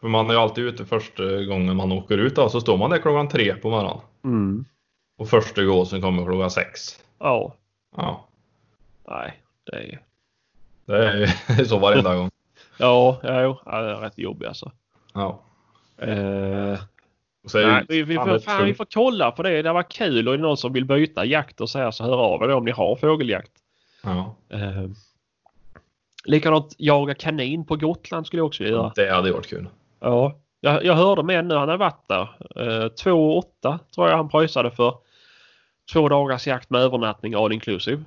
För man är ju alltid ute första gången man åker ut. då, Så står man där klockan tre på morgonen. Mm. Och första gåsen kommer klockan sex. Ja, Ja, nej, det är... det är ju så varenda gång. Ja, ja, jo, ja, det är rätt jobbigt alltså. Ja. Eh, Och så är det ju- Nej, vi, vi, fan, får, det är fan, vi får kolla på det. Det var kul och är det någon som vill byta jakt och så här så hör av er om ni har fågeljakt. Ja. Eh, likadant jaga kanin på Gotland skulle jag också vilja göra. Det hade varit kul. Ja. Jag, jag hörde med en nu, han hade varit där. Eh, 2 8 tror jag han pröjsade för. Två dagars jakt med övernattning all inclusive.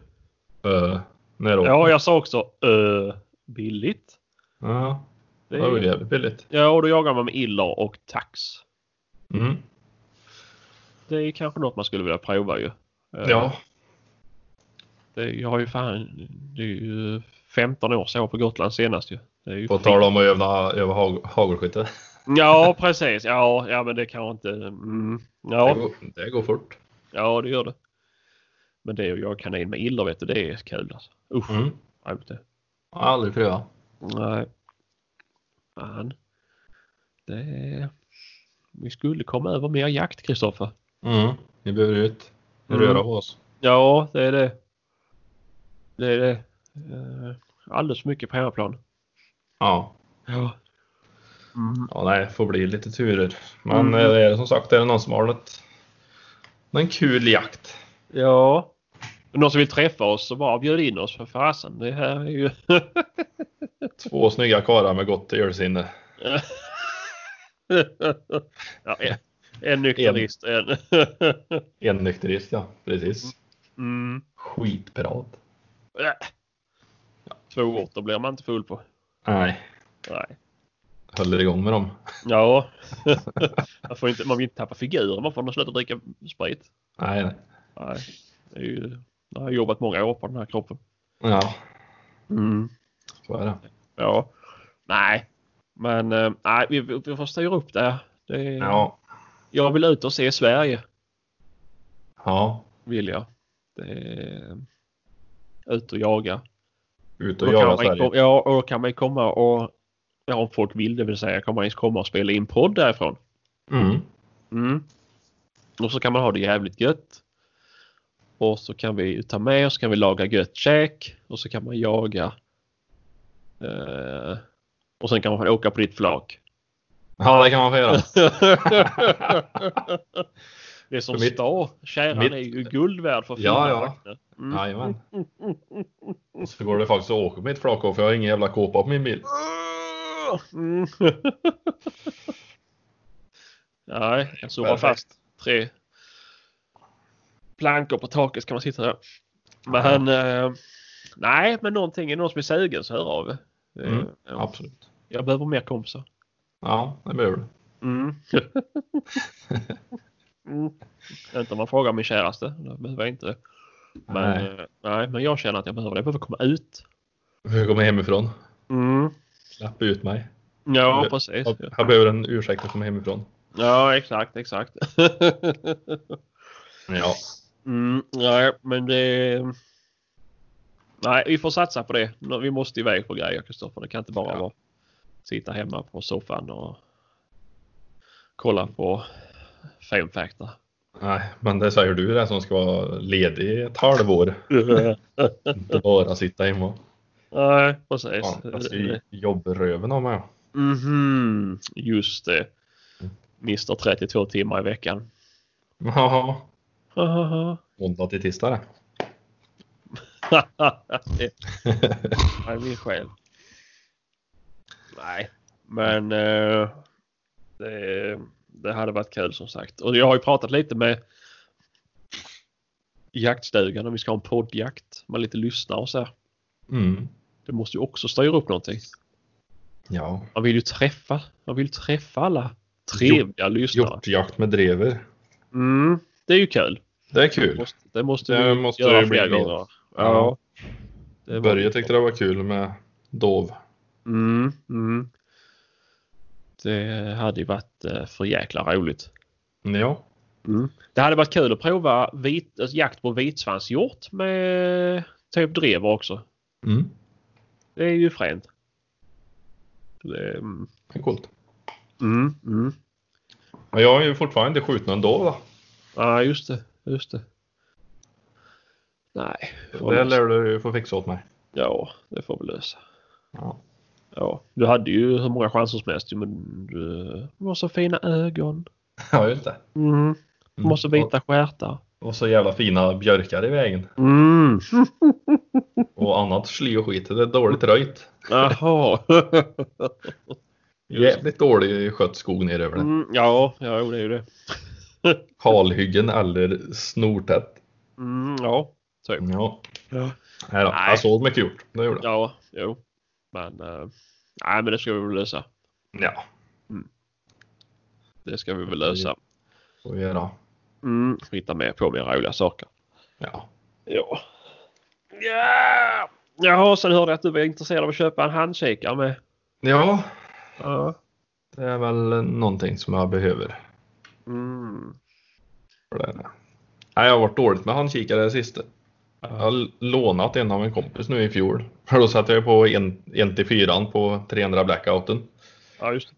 Uh, när då? Ja, jag sa också eh, billigt. Ja, Det det var ju är, jävligt billigt. ja, och då jagar man med iller och tax. Mm. Det är kanske något man skulle vilja prova ju. Eh, Ja, Det, jag har ju fan, det är ju 15 år sedan jag var på Gotland senast ju. Det är ju på fint. tal om att öva, öva hag- hagelskytte. Ja, precis. Ja, ja men det kan jag inte... Mm. Det, Ja, går, det går fort. ja, det gör det. Men det är ju jag kanin med iller vet du, det är kul alltså. Usch, Mm. roligt det. Jag har aldrig prövat. Nej. Fan. Det är... Vi skulle komma över mer jakt, Kristoffer. Mm. Vi behöver ut. Mm. Röra på oss. Ja, det är det. Det är det. Eh, Alldeles för mycket på hemmaplan. Ja. Ja. Mm. ja, nej, får bli lite turer. Men Mm. eh, det är som sagt, är det någon som har något, någon kul jakt? Ja. Någon som vill träffa oss så bara bjud in oss för fasen. Det här är ju... Två snygga karlar med gott ölsinne. ja, en, en nykterist. En. En nykterist, ja. Precis. Mm. Skitpirat. Äh. Två åter blir man inte full på. Nej, Nej. håller igång med dem. Ja. man, får inte, man vill inte tappa figurer. Man får nog sluta dricka sprit. Nej, nej. Nej. Det är ju, jag har jobbat många år på den här kroppen. Ja, Mm. så är det. Ja. Nej. Men eh, nej, vi, vi vi får styra upp det. här. det är, Ja. Jag vill ut och se Sverige. ja. Vill jag. Det är, ut och jaga. Ut Då och kan jaga man Sverige. kom- Ja, och då kan man ju komma och... Ja, om folk vill det vill säga. Kan man ju komma och spela in podd därifrån. Mm. Mm. Och så kan man ha det jävligt gött. Och så kan vi ta med oss, kan vi laga gött käk och så kan man jaga. Eh, och sen kan man åka på ditt flak. Ja, det kan man få göra. det är som För mitt- stå. Tjäran mitt- är ju guld värd för Ja, ja. vakter. Mm. Jajamän. Och så går det faktiskt att åka på mitt flak också, för jag har ingen jävla kåpa på min bil. Mm. Nej, jag zoomar Perfekt. fast tre plankor på taket kan man sitta där. Men eh, nej, men någonting är det någon som är sugen så hör av er. Eh, Mm, ja. Absolut. Jag behöver mer kompisar. Ja, det behöver du. Mm. mm. Inte om man frågar min käraste. Då behöver jag inte det. Men, eh, Nej. nej. nej, men jag känner att jag behöver det. Jag behöver komma ut. Jag kommer hemifrån. Mm. Släpp ut mig. Ja, Jag- precis. Jag, jag behöver en ursäkt att komma hemifrån. Ja, exakt, exakt. Ja. Mm, nej, men det... Nej, vi får satsa på det. Vi måste iväg på grejer, Kristoffer. Det kan inte bara Ja. vara sitta hemma på soffan och kolla på Fame Factor. Nej, men det säger du den som ska vara ledig i ett halvår. Inte bara sitta hemma. nej, precis. Fan, jag ska ju jobba röven av mig. Mhm, just det. Mister 32 timmar i veckan. Jaha. Måndag till tisdag det. det Nej, min själ. Nej, men eh, det, det hade varit kul som sagt. Och jag har ju pratat lite med jaktstugan om vi ska ha en poddjakt med lite lyssnare och så här. Mm. Det måste ju också styra upp någonting. Ja. Man vill ju träffa, man vill träffa alla trevliga lyssnare. Hjortjakt med drever. Mm, det är ju kul. Det är Det kul. måste, det måste Det vi måste göra det bli flera mer. gånger. Ja. Det var- Börje tyckte det var kul med dov. Mm, mm. Det hade ju varit eh, för jäkla roligt. Ja. Det hade varit kul att prova vit, alltså jakt på vitsvanshjort med typ drever också. Mm. Det är ju fränt. Det, mm, Det är coolt. mm, mm. Men jag har ju fortfarande inte skjutit någon dov. va? Ja, just det. Just det. Nej. det får Det vi lösa. lär du ju få fixa åt mig. Ja, det får vi lösa. Ja. Ja, du hade ju hur många chanser som helst ju, men du du har så fina ögon. Ja, just det. Mm. Du Mm. måste vita stjärtar. Och så jävla fina björkar i vägen. Mm. Och annat sly och skit. Det är dåligt röjt. Jaha. Jävligt dålig skött skog neröver den. Mm, ja, ja, jo, det är ju det. Kalhyggen eller snortätt. Mm, ja, typ. Ja. Ja, Nej då. Nej. Jag såg mycket gjort. Det gjorde jag. ja jo. Men, eh, nej, men det ska vi väl lösa. Ja. Det ska vi väl lösa. Får vi göra. Mm, hitta med på mer roliga saker. Ja. Ja. Yeah! Jaha, sen hörde jag att du var intresserad av att köpa en handkikare med. Ja. Ja. Det är väl någonting som jag behöver. Mm. För det. Nej, jag har varit dåligt med handkikare det sista. Jag har l- lånat en av en kompis nu i fjol. För då satte jag på en, en till fyran på 300 blackouten. ja, just det.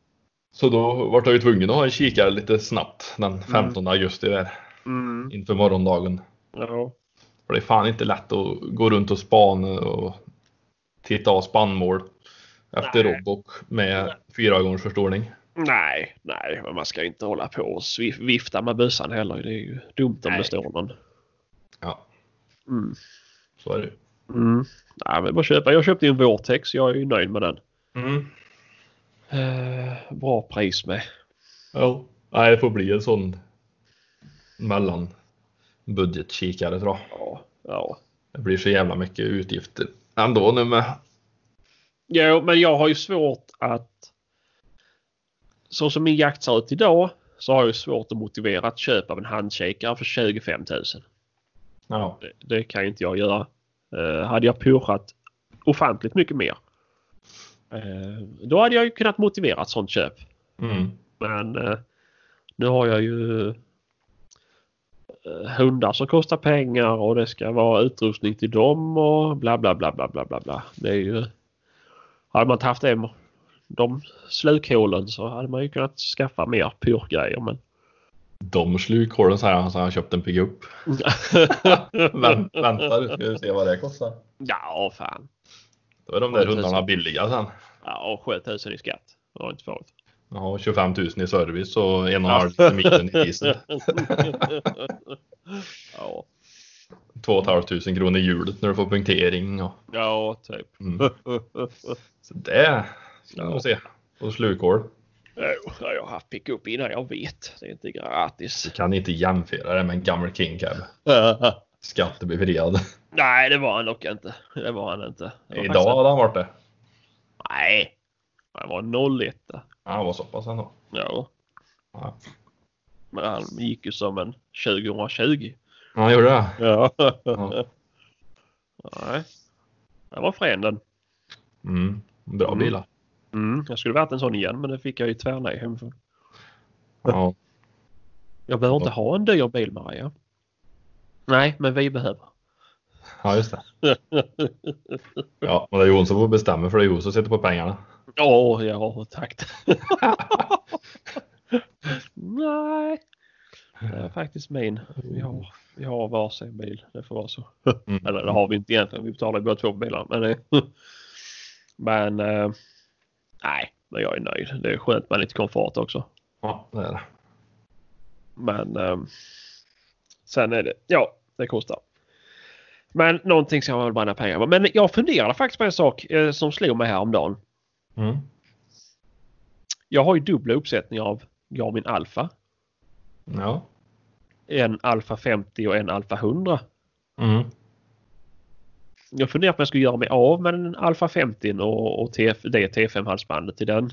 Så då vart jag ju tvungen att ha en kikare lite snabbt den 15 augusti där Mm. inför morgondagen. Ja. För det är fan inte lätt att gå runt och spana och titta av spannmål efter Nej. robock med fyra gångers förstoring. Nej, nej, men man ska ju inte hålla på och svif- vifta med bössan heller. Det är ju dumt om det Nej. står någon. Ja, Mm. så är det ju. Mm. Nej, men bara köpa. Jag köpte ju en Vortex. Jag är ju nöjd med den. Mm. Eh, bra pris med. Ja. Nej, det får bli en sån mellan budgetkikare tror jag. Ja. ja. Det blir så jävla mycket utgifter ändå nu med. Jo, men jag har ju svårt att... Så som min jakt ser ut idag så har jag ju svårt att motivera att köpa en handkikare för 25 000. Ja, Det, det kan ju inte jag göra. Eh, hade jag pushat ofantligt mycket mer. eh, då hade jag ju kunnat motivera ett sånt köp. mm. Men eh, nu har jag ju eh, hundar som kostar pengar och det ska vara utrustning till dem och bla bla bla bla bla bla. bla. Det är ju... Hade man inte haft dem, de slukhålen så hade man ju kunnat skaffa mer pyrgrejer men... de slukhålen så här. Han sa han köpte en pickup. Vänt, vänta du ska vi se vad det kostar. ja, fan. Då är de där hundarna billiga sen. Ja, 7000 i skatt. Det var inte farligt. Ja, 25 000 i service och en och en halv mil i diesel. ja. 2 500 kronor i hjulet när du får punktering. Och, ja, typ. mm. Så det ska vi nog se. Och slukhål. Jo, jag har haft pickup innan, jag vet. Det är inte gratis. Kan inte jämföra det med en gammal King Cab. Skattebefriad. Nej, det var han dock inte. Det var han inte. Det var Idag faktiskt- hade han varit det. Nej. Han var 01. Han var så pass ändå. Ja. Ja. Men han gick ju som en 2020. Han gjorde det. Ja. Ja. Nej. Det var fränden. Mm. Bra Mm. bilar. Mm. Jag skulle varit en sån igen, men det fick jag ju tvärnej hemifrån. Ja. Jag behöver inte ha en dyr bil, Maria. Nej, men vi behöver. ja, just det. Ja, och det är Jon som får bestämma för det är Jon som sitter på pengarna. Åh, ja, tack. Nej. Det är faktiskt min. Vi har, vi har varsin bil. Det får vara så. Mm. Eller det har vi inte egentligen. Vi betalar ju båda två på bilarna. Men, eh, men eh, nej, men jag är nöjd. Det är skönt med lite komfort också. Ja, det är det. Men eh, sen är det, ja, det kostar. Men någonting ska man väl bränna pengar på. Men jag funderade faktiskt på en sak eh, som slog mig häromdagen. Mm. Jag har ju dubbla uppsättningar av Garmin Alpha. Ja. En Alpha 50 och en Alpha 100. Mm. Jag funderar på om jag skulle göra mig av med den Alpha 50 och, och TF, det T5-halsbandet till den.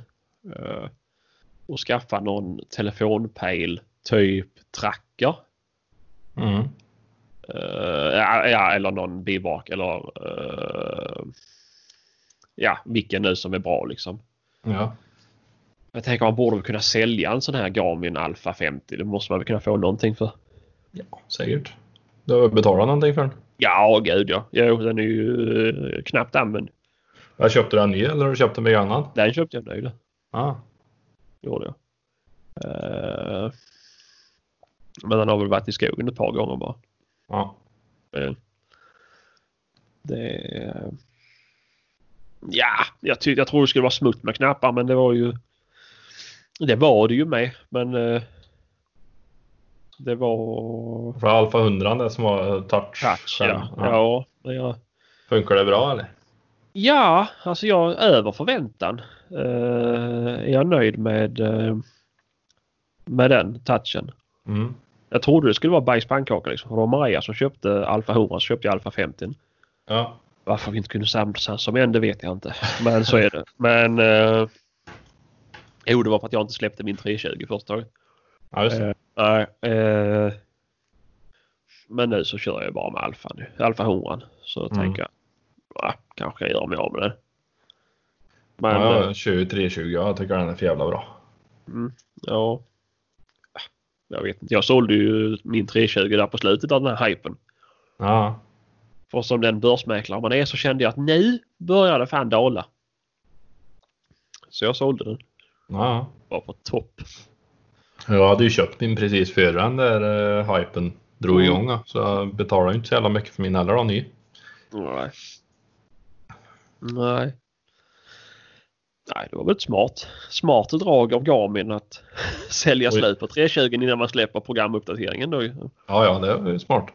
Eh, och skaffa någon telefonpejl, typ tracker. Mm. Eh, ja, ja, eller någon bivak eller eh, ja, vilken nu som är bra liksom. Ja. Jag tänker man borde väl kunna sälja en sån här Garmin Alpha 50. Det måste man väl kunna få någonting för. ja, säkert. Du har väl betalat någonting för den? Ja, gud ja. Jo, den är ju eh, knappt använd. Jag köpte den ny eller har du köpt den begagnad? Den köpte jag nu. Ah. gjorde jag. Eh, men den har väl varit i skogen ett par gånger bara. Ja. Eh, det... ja, jag, ty- jag tror det skulle vara smutt med knappar men det var ju... Det var det ju med men... eh, det var... För Alfa 100 det som var touch. Touch ja. Ja. Ja, men jag... Funkar det bra eller? ja alltså jag är över förväntan. Eh, är jag nöjd med... eh, med den touchen. Mm. Jag trodde det skulle vara bajspannkaka liksom. För det var Maria som köpte Alfa 100 så köpte jag Alfa 50. Ja. Varför vi inte kunde samsas som en det vet jag inte. Men så är det. Men... Eh, jo, det var för att jag inte släppte min 320 första taget. ja, just det. Nej. Eh, men nu så kör jag bara med Alfa nu. Alfa 100. Så Mm. tänker jag. Ah, kanske jag gör mig av med den. Men ja, eh, jag kör ju 320. Jag tycker den är för jävla bra. ja. Ah, Jag vet inte. Jag sålde ju min 320 där på slutet av den här hypen. Ja. För som den börsmäklare man är så kände jag att nu börjar det fan dala. Så jag sålde den. ja. Var på topp. Jag hade ju köpt min precis före den där eh, hypen drog Mm. igång. då. Så jag betalade ju inte så jävla mycket för min heller då ny. Nej. Nej. Nej, det var väl ett smart. Smart drag av Garmin att sälja Oj. slut på 320 innan man släpper programuppdateringen då. ju. Ja, ja, det var ju smart.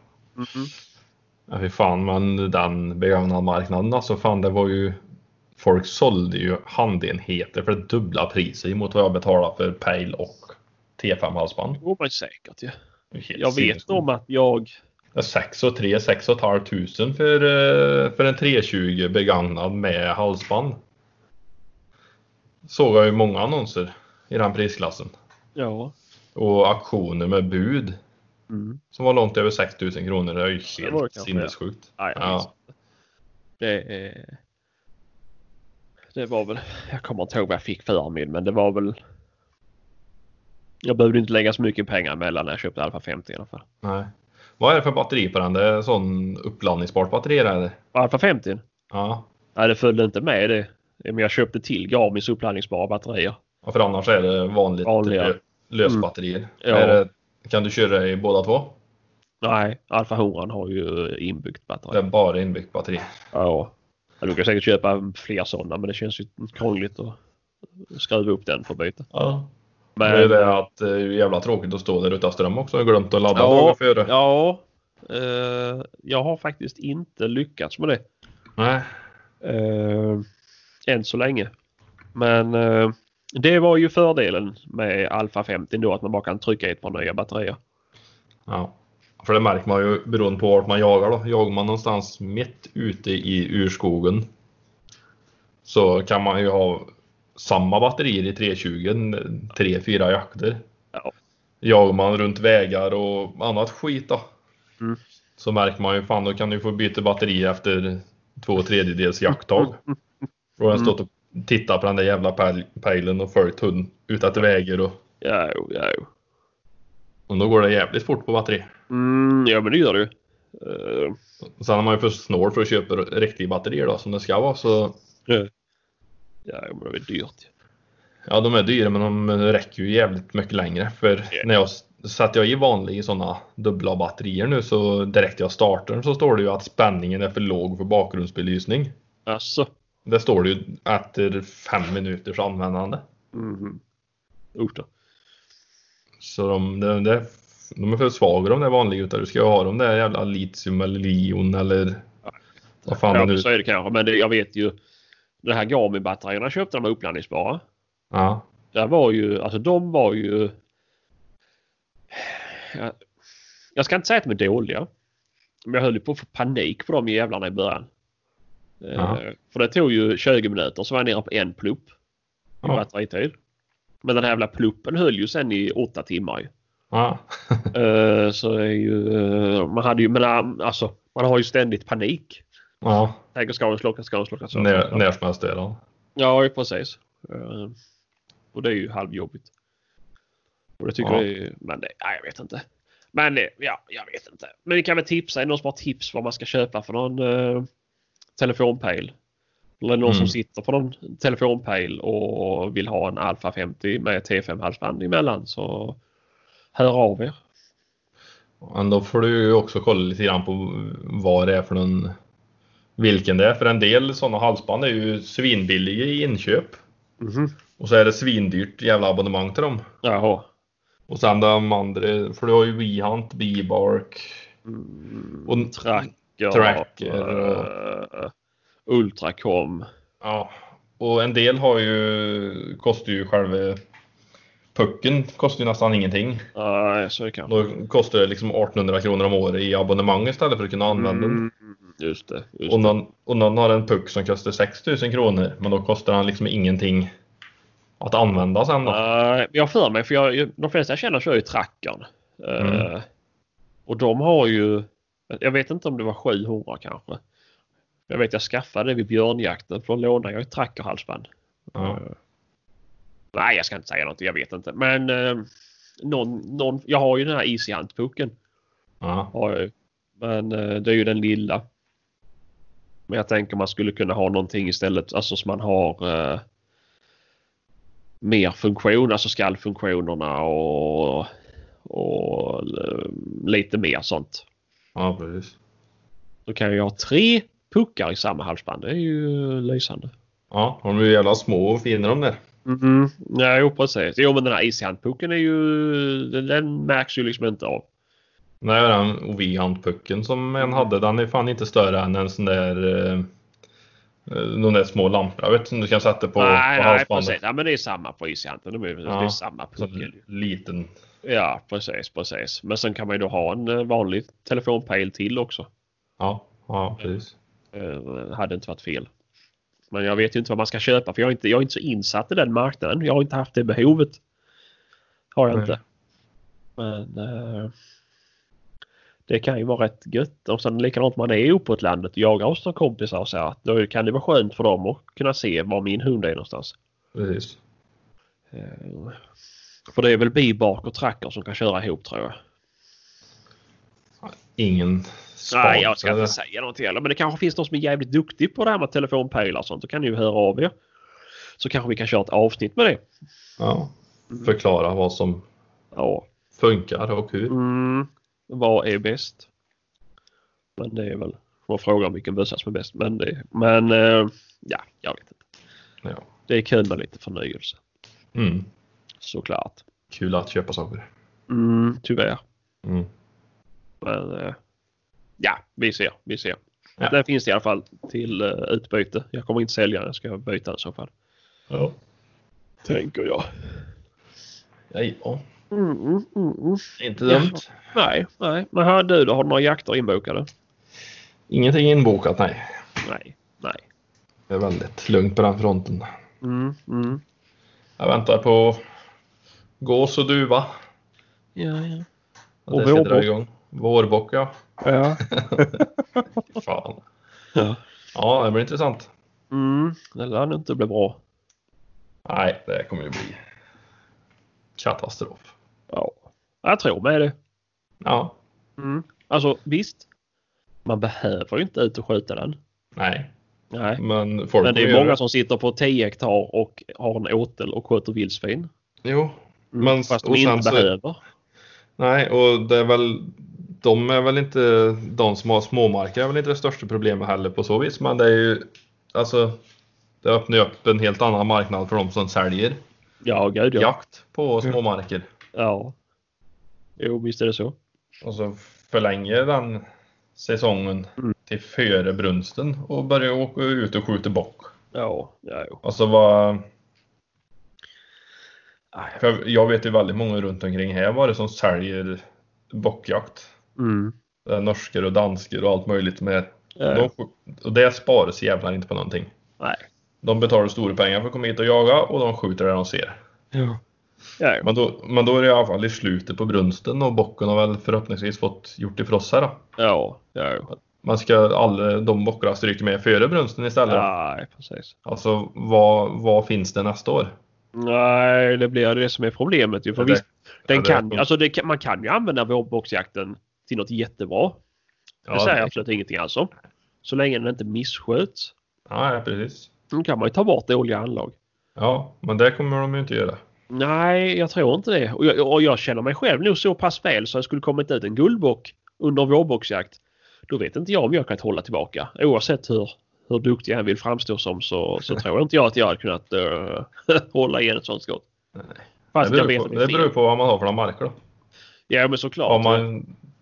Ja, fy fan, men den begagnade marknaden alltså. Fan, det var ju... Folk sålde ju handenheter för dubbla priser mot vad jag betalade för pejl och T5-halsband. Det går man ju säkert ju. Det är helt Jag vet sinnessjukt. om att jag 6 och 3, 6 och tusen för, eh, för en 320 begagnad med halsband. Såg jag ju många annonser i den prisklassen. Ja. Och auktioner med bud Mm. som var långt över 6000 kronor. Det är ju Det var det helt kanske, sinnessjukt. Nej, jag minns Ja. inte. Det är... Det var väl... Jag kommer inte ihåg vad jag fick för min, men det var väl... Jag behövde inte lägga så mycket pengar mellan när jag köpte Alfa 50 i alla fall. Nej. Vad är det för batteri på den? Det är sån uppladdningsbart batteri där, eller? Alfa 50? Ja. Nej, det följde inte med det. Men jag köpte till Garmins uppladdningsbara batterier. Och för annars är det vanligt Vanliga. lö- lösbatterier. Mm. Ja. Är det, kan du köra i båda två? Nej, Alfa 100 har ju inbyggt batteri. Det är bara inbyggt batteri. Ja. Ja, Du kan säkert köpa fler sådana men det känns ju krångligt att skruva upp den för att byta. Ja. Men, Det är det att det är ju jävla tråkigt att stå där utan ström också. Jag har glömt att ladda ja, dagen före. ja eh, jag har faktiskt inte lyckats med det Nej. eh, än så länge. Men eh, det var ju fördelen med Alfa 50 då att man bara kan trycka i ett par nya batterier. Ja. För det märker man ju beroende på vart man jagar då. Jagar man någonstans mitt ute i urskogen så kan man ju ha samma batterier i 320, tre fyra jakter. Ja. Jagar man runt vägar och annat skit då. Mm. Så märker man ju fan då kan du få byta batteri efter två tredjedels jakttag. Då Mm. har den stått och tittat på den där jävla pejl- pejlen och följt hunden ut efter vägar och, Ja, jo, ja, jo. och då går det jävligt fort på batteri. Mm, ja men det gör det ju. Eh, Och Sen är man ju för snål för att köpa riktiga batterier då, som det ska vara. Så, ja, jo, men det är dyrt. ju. ja, de är dyra men de räcker ju jävligt mycket längre. För Ja. när jag satte jag i vanliga sådana dubbla batterier nu så direkt jag startar den så står det ju att spänningen är för låg för bakgrundsbelysning. Alltså. Det står det ju efter fem minuters användande. Mhm. Usch då. Så de, de, de, de är för svaga de där vanliga utan du ska ju ha de där jävla litium eller lion eller vad fan Ja, det men nu så är det kanske. Men det, jag vet ju. De här Garmin-batterierna jag köpte, de var uppladdningsbara. Ja, Där var ju, alltså de var ju... Jag, jag ska inte säga att de är dåliga. Men jag höll ju på att få panik på de jävlarna i början. Eh, Ja. För det tog ju 20 minuter så var jag nere på en plupp. I Ja. batteritid. Men den här jävla pluppen höll ju sen i åtta timmar ju. ja. Eh, så det är ju, eh, man hade ju, men eh, alltså man har ju ständigt panik. ja. Tänker ska den slocka, ska den slocka. ska den När, slocka. när som helst är det. Ja, ju precis. Eh, Och det är ju halvjobbigt. Och det tycker Ja. jag är, men det, nej, jag vet inte. Men eh, ja, jag vet inte. Men ni kan väl tipsa, är det någon som har tips vad man ska köpa för någon eh, telefonpejl? Eller någon som Mm. sitter på någon telefonpejl och vill ha en Alfa 50 med T5 halsband emellan så hör av er. Men då får du ju också kolla lite grann på vad det är för någon, vilken det är. För en del sådana halsband är ju svinbilliga i inköp. Mm-hmm. Och så är det svindyrt jävla abonnemang till dem. Jaha. Och sen de andra, för du har ju Wehunt, Beebark Mm, och tracker. Tracker eh, Ultracom. Ja, och en del har ju, kostar ju själva pucken kostar ju nästan ingenting. Nej, så kan Då kostar det liksom 1800 kronor om året i abonnemang istället för att kunna använda den. Mm, just det. Just Och någon, och någon har en puck som kostar 6 000 kronor, men då kostar han liksom ingenting att använda sen det. då. Nej, men jag har för mig, för jag, de flesta jag känner kör ju trackern. Eh, Mm. och de har ju, jag vet inte om det var 700 kanske. Jag vet jag skaffade det vid björnjakten för då lånade jag ett trackerhalsband. Ja. Nej, jag ska inte säga något, jag vet inte. Men eh, någon, någon, jag har ju den här Easy Hunt-pucken. Ja. Har jag ju. Men eh, det är ju den lilla. Men jag tänker man skulle kunna ha någonting istället, alltså som man har eh, mer funktion, alltså skallfunktionerna och, och eh, lite mer sånt. ja, precis. Då kan jag ha tre puckar i samma halsband, det är ju lysande. Ja, de är ju jävla små och fina de där. Mm-hmm. Mm. Ja, jo precis. Jo men den här ishandpucken är ju, den, den märks ju liksom inte av. Nej, den Oviant-pucken som en hade, den är fan inte större än en sån där eh, Eh, De där små lamporna vet, du, som du kan sätta på, nej, nej på halsbandet. precis. Ja, men det är samma på iskanten. De är, Det är Ja. samma Så puckel. en ju. liten. Ja, precis, precis. Men sen kan man ju då ha en eh, vanlig telefonpejl till också. Ja, ja precis. Eh, hade inte varit fel. Men jag vet ju inte vad man ska köpa för jag är inte, jag är inte så insatt i den marknaden. Jag har inte haft det behovet. Har jag Nej. inte. Men eh, det kan ju vara rätt gött. Och sen likadant man är uppe på ett landet och jagar hos några kompisar och så här. Då kan det vara skönt för dem att kunna se var min hund är någonstans. precis. Eh, för det är väl bibak och tracker som kan köra ihop tror jag. Ingen span. Nej, jag ska inte säga något heller. Men det kanske finns någon som är jävligt duktig på det här med telefonpejlar och sånt. Då kan ni ju höra av er. Så kanske vi kan köra ett avsnitt med det. Ja. Förklara vad som Ja. funkar och hur. Mm. Vad är bäst? Men det är väl... Man frågar om vilken bössa som är bäst. Men, det, men eh, ja, jag vet inte. Ja. Det är kul med lite förnyelse. Mm. Såklart. Kul att köpa saker. Mm, tyvärr. Mm. Men eh, ja, vi ser. Vi ser. Ja. Den finns i alla fall till eh, utbyte. Jag kommer inte sälja den. Jag ska byta den i så fall. Ja. Tänker jag. Ja, ja. Mm, mm, mm, mm. Inte dumt. Nej, nej. Men här du då? Har du några jakter inbokade? Ingenting inbokat, nej. Nej, nej. Det är väldigt lugnt på den fronten. Mm, mm. Jag väntar på gås och duva. Ja, ja. Att Och det ska dra vårbock. igång. Vårbock, ja. Ja. Fy Fan. ja. Ja, det blir intressant. Mm. Det lär inte bli bra. Nej, det kommer ju bli katastrof. Ja. Jag tror med det. Ja, Mm. Alltså visst. Man behöver ju inte ut och skjuta den. nej, Nej. men folk Men det kommer är göra många som sitter på 10 hektar och har en åtel och sköter vildsvin. Jo, men Fast de och sen inte så- behöver. nej, och det är väl de är väl inte de som har småmarker är väl inte det största problemet heller på så vis, men det är ju alltså. Det öppnar ju upp en helt annan marknad för de som säljer Ja, gud ja. jakt på småmarker. ja. Jo, visst är det så. Och så förlänger den säsongen Mm. till före brunsten och börjar åka ut och skjuta bock. Ja, ja jo. Alltså vad... Aj. För jag- jag vet ju väldigt många runt omkring här var det som säljer bockjakt. Mm. Det är Norskor och danskor och allt möjligt med. Ja. De, sk- och det sparas jävlar inte på någonting. Nej. De betalar stora pengar för att komma hit och jaga och de skjuter där de ser. Ja. Ja, jo. Men då, men då är det i alla fall i slutet på brunsten och bocken har väl förhoppningsvis fått gjort ifrån sig då. ja, ja. jo. Man ska alla de bockarna stryka med före brunsten istället. Nej, precis. Alltså vad, vad finns det nästa år? Nej, det blir det som är problemet ju. För Ja, det- visst, den ja, det- kan, alltså det kan, man kan ju använda vårboxjakten till något jättebra. Det Ja, säger det- jag absolut ingenting alls om. Så länge den inte missköts. Nej, precis. Då kan man ju ta bort dåliga anlag. Ja, men det kommer de ju inte göra. Nej, jag tror inte det. Och jag, och jag känner mig själv nog så pass väl så jag skulle kommit ut en guldbock under vårboxjakt. Då vet inte jag om jag kan hålla tillbaka. Oavsett hur, hur duktig jag än vill framstå som så, så tror inte jag att jag hade kunnat eh, hålla igen ett sånt skott. Fast Det jag beror, vet på, att det det är beror fel. på vad man har för några marker då. Ja, men såklart. Har man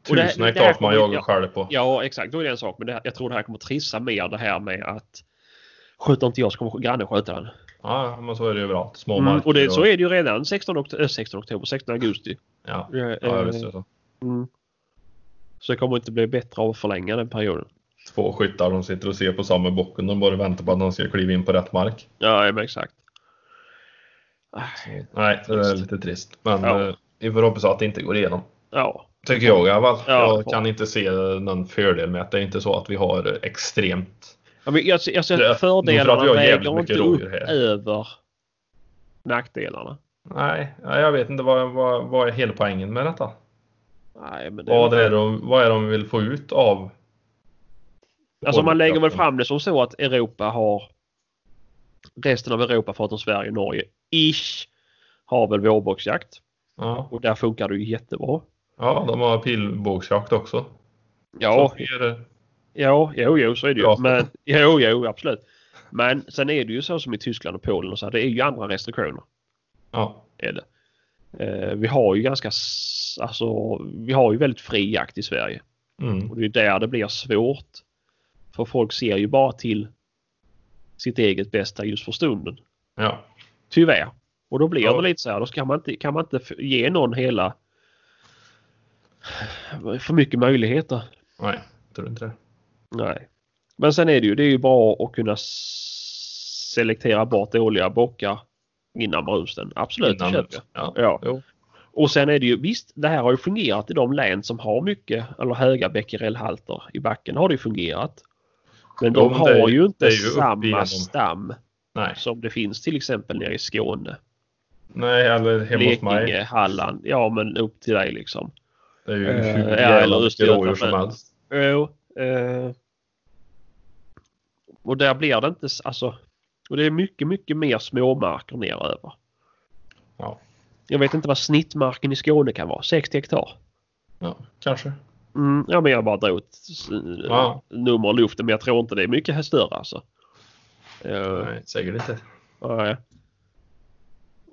Och det- tusen det hektar här som man kommer- jagar ja. själv på. Ja, exakt. Då är det en sak. Men det här, jag tror det här kommer trissa mer det här med att skjuter inte jag så kommer grannen skjuta den. Ja, men så är det ju överallt. Små Mm, marker. och det, så är det ju redan 16, okt- äh, 16 oktober, 16 augusti. Ja, Ja, ja eh, visst är det så. mm. Så det kommer inte bli bättre av att förlänga den perioden. Två skyttar som sitter och ser på samma bocken. De bara väntar på att någon ska kliva in på rätt mark. Ja, men exakt. Nej, det är lite trist. Men Ja. eh, vi får hoppas att det inte går igenom. Ja, Tycker jag i alla fall. Ja, det jag får- kan inte se någon fördel med att det är inte så att vi har extremt... Ja, men jag, ser- jag ser Det- att fördelarna nog för att vi har jävligt väger mycket inte upp rådjur här. över nackdelarna. Nej, nej, jag vet inte vad, vad, vad är hela poängen med detta. Nej, men det Vad är, de, vad är de vill få ut av... Alltså man lägger väl vårdkraften? fram det som så att Europa har resten av Europa förutom Sverige och Norge ish har väl vårboxjakt Ja. och där funkar det ju jättebra. ja, de har pilbågsjakt också. Ja, Så är det- ja, jo, jo, så är det ju. Ja. Men, jo, jo, absolut. Men sen är det ju så som i Tyskland och Polen och så här, det är ju andra restriktioner. Ja, Är det. Eh, vi har ju ganska, s- alltså, vi har ju väldigt fri jakt i Sverige. mm. Och det är där det blir svårt. För folk ser ju bara till sitt eget bästa just för stunden. Ja. Tyvärr. Och då blir Ja. det lite så här, då ska man inte, kan man inte f- ge någon hela för mycket möjligheter. Nej, tror inte det. Nej. Men sen är det ju, det är ju bra att kunna s- selektera bort dåliga bockar innan brusten. Absolut, det Innan- köper jag. Ja. Ja. Jo. Och sen är det ju visst, det här har ju fungerat i de län som har mycket eller höga becquerelhalter i backen har det ju fungerat. Men Jo, de men har det är- ju inte det är ju upp samma igenom. stam Nej. som det finns till exempel nere i Skåne. Nej, eller hemma hos mig. Blekinge, Halland. Ja, men upp till dig liksom. Det är ju Eh, hur ja, jävla eller mycket Östergötland, rådjur som men- helst. Jo. Eh, och där blir det inte s- alltså. Och det är mycket, mycket mer småmarker neröver. Ja. Jag vet inte vad snittmarken i Skåne kan vara. 60 hektar. ja, kanske. Mm, ja, men jag bara drog ett s- Ja. nummer i luften. Men jag tror inte det är mycket här större alltså. Eh, Nej, säkert inte. nej.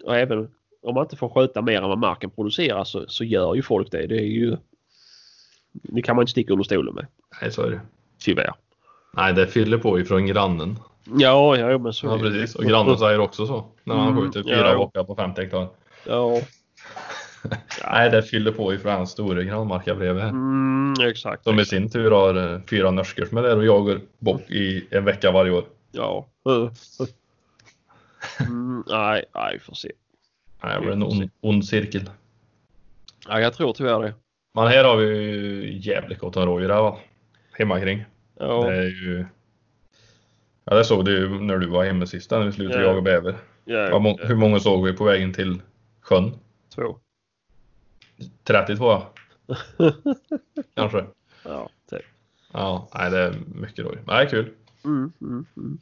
Och även om man inte får skjuta mer än vad marken producerar så, så gör ju folk det. Det är ju... Det kan man inte sticka under stolen med. Nej, så är det. Tyvärr. Nej, det fyller på ifrån grannen. Ja, ja men så Ja, är det. precis. Och grannen säger också så. När han Mm, skjuter ja, fyra jo. bockar på 50 hektar. Ja, Nej, det fyller på ifrån hans store grannmarka bredvid. här. mm, exakt. Som i exakt. sin tur har eh, fyra norskor som är där och jagar bock i en vecka varje år. Ja. Mm, nej, nej, vi får se. Nej, det blir en ond, ond cirkel. Ja, jag tror tyvärr det. Men här har vi ju jävligt gott om rådjur här va? Hemma kring. Ja, Det är ju... Ja, det såg du ju när du var hemma sist när vi slutade Ja. jaga bäver. Vad ja, må- ja, Hur många såg vi på vägen till sjön? två. 32 ja. Kanske. Ja, typ. Ja, nej det är mycket rådjur. Nej, kul. Mm, mm, mm.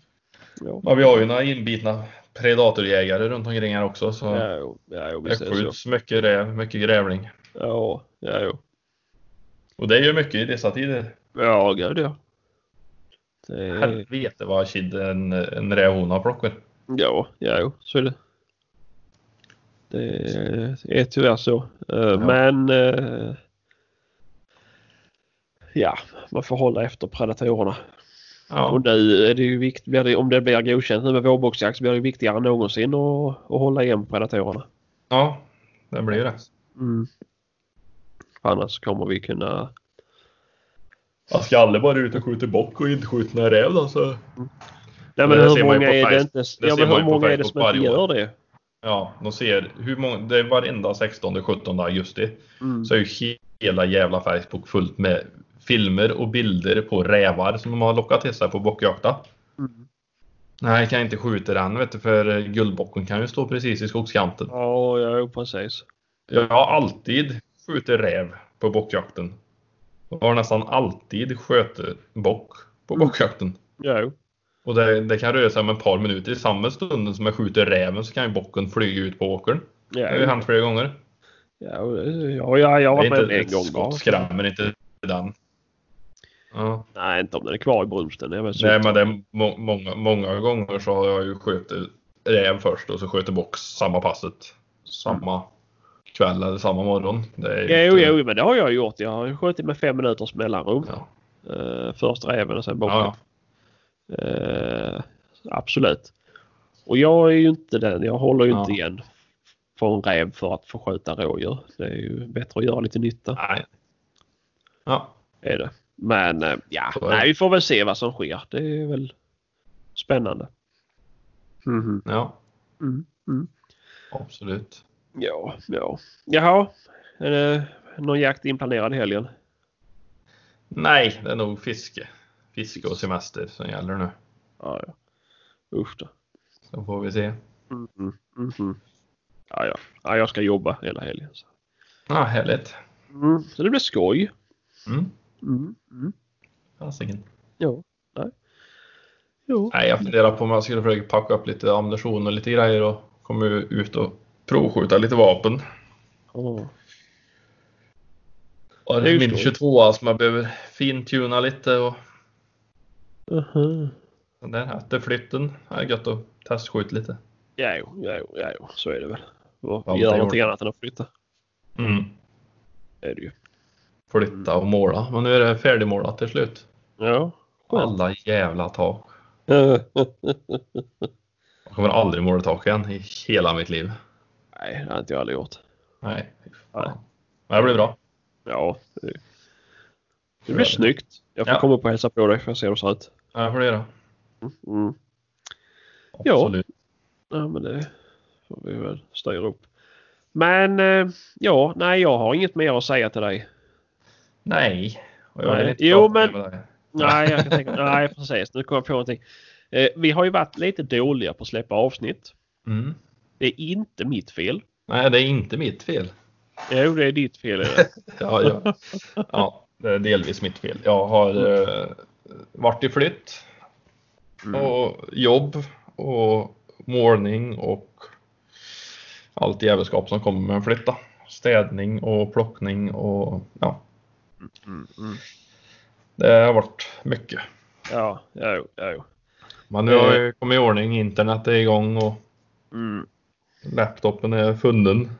Ja, Ja, vi har ju några inbitna predatorjägare runt omkring här också. Så ja, jo, ja, jo, det visst är det så. skjuts mycket räv, mycket grävling. Ja, ja, jo. Och det är ju mycket i dessa tider. Ja, gud ja. Det är... Helvete vad kid en, en rävhona plockar. Ja, ja, jo, så är det. Det är tyvärr så. Eh, Men... eh, Ja, man får hålla efter predatorerna. Ja, Och nu är det ju vikt, blir det, om det blir godkänt nu med vårboxjakt så blir det viktigare än någonsin att, att hålla igen på predatorerna. ja det blir det. Mm. För Annars kommer vi kunna... Jag ska aldrig bara ut och skjuta bock och inte skjuta några räv då så. Nej men men det hur ser man ju många på är det inte? Face- det ja, ser men hur man ju på många är det Facebook som inte varje gör år. det? Ja, de ser hur många, det är varenda 16, 17 augusti Mm. så är ju hela jävla Facebook fullt med filmer och bilder på rävar som de har lockat till sig på bockjakta. Mm. Nej, kan jag inte skjuta den vet du, för eh, guldbocken kan ju stå precis i skogskanten. Ja, ja, jo, precis. Jag har alltid skjutit räv på bockjakten. Jag har nästan alltid skjutit bock på bockjakten. Ja, jo. Och det, det kan röra sig om ett par minuter. I samma stund som jag skjuter räven så kan ju bocken flyga ut på åkern. Det Ja, har ju jo. hänt flera gånger. ja, jo. ja, ja, jag har Det varit är med om inte det ett en gång bara. skott skrämmer inte den. Ja. Nej, inte om den är kvar i brunsten. Det är väl Nej, så. men det är må många, många gånger så har jag ju skjutit räv först och så skjuter bock samma passet. Samma kväll eller samma morgon. Det är ju Mm. Jo, inte- jo, men det har jag gjort. Jag har ju skjutit med fem minuters mellanrum. Ja. Eh, först räven och sen bocken. Ja, Eh, absolut. Och jag är ju inte den. Jag håller ju Ja. inte igen för en räv för att få skjuta rådjur. Det är ju bättre att göra lite nytta. ja. Nej. Ja. Är det. Men eh, ja, Så är det. nej, vi får väl se vad som sker. Det är väl spännande. Mhm. Ja, Mm. Mm. absolut. Ja, ja. Jaha. Är det någon jakt inplanerad i helgen? Nej, det är nog fiske. Fiske och semester som gäller nu. Ja, ja. Usch då. Så får vi se. Mhm. Mhm. Ja, ja. ja, jag ska jobba hela helgen. Så, Ja, ah, härligt. mm. så det blir skoj. Mm. Mm. Mm. Fasiken. Ja. Nej. Jo. Nej, jag funderar på om jag skulle försöka packa upp lite ammunition och lite grejer och komma ut och provskjuta lite vapen. Ja. Och Det är ju min skoj. 22 som jag behöver fintuna lite och Mhm. den där efterflytten. Det är gött att testskjuta lite. Ja, jo, ja, jo, ja, jo. så är det väl. Och Allt Gör är någonting annat än att flytta. Mm. Det är det ju. Flytta och måla. Men nu är det färdigmålat till slut. Ja. Alla jävla tak. Jag kommer aldrig måla tak igen i hela mitt liv. Nej, det har inte jag aldrig gjort. Nej, fy fan. Nej. Men det blir bra. Ja, det, det blir snyggt. Jag får Ja. komma upp och hälsa på dig för att se hur det ser ut. Ja, det får du göra. Mm. Ja. Absolut. Ja, men det får vi väl styra upp. Men eh, ja, nej, jag har inget mer att säga till dig. Nej. Och jag Nej. vill inte Jo, prata men- med dig. Nej, jag kan tänka, nej precis. Nu kommer jag på någonting. Eh, vi har ju varit lite dåliga på att släppa avsnitt. Mm. Det är inte mitt fel. Nej, det är inte mitt fel. Jo, det är ditt fel. är det. Ja, ja. ja det är delvis mitt fel. Jag har eh, varit i flytt Mm. och jobb och målning och allt jävelskap som kommer med en flytt. då. Städning och plockning och ja, Mm, mm. det har varit mycket. Ja, jo, jo. Men nu har jag kommit i ordning, internet är igång och Mm. laptopen är funnen.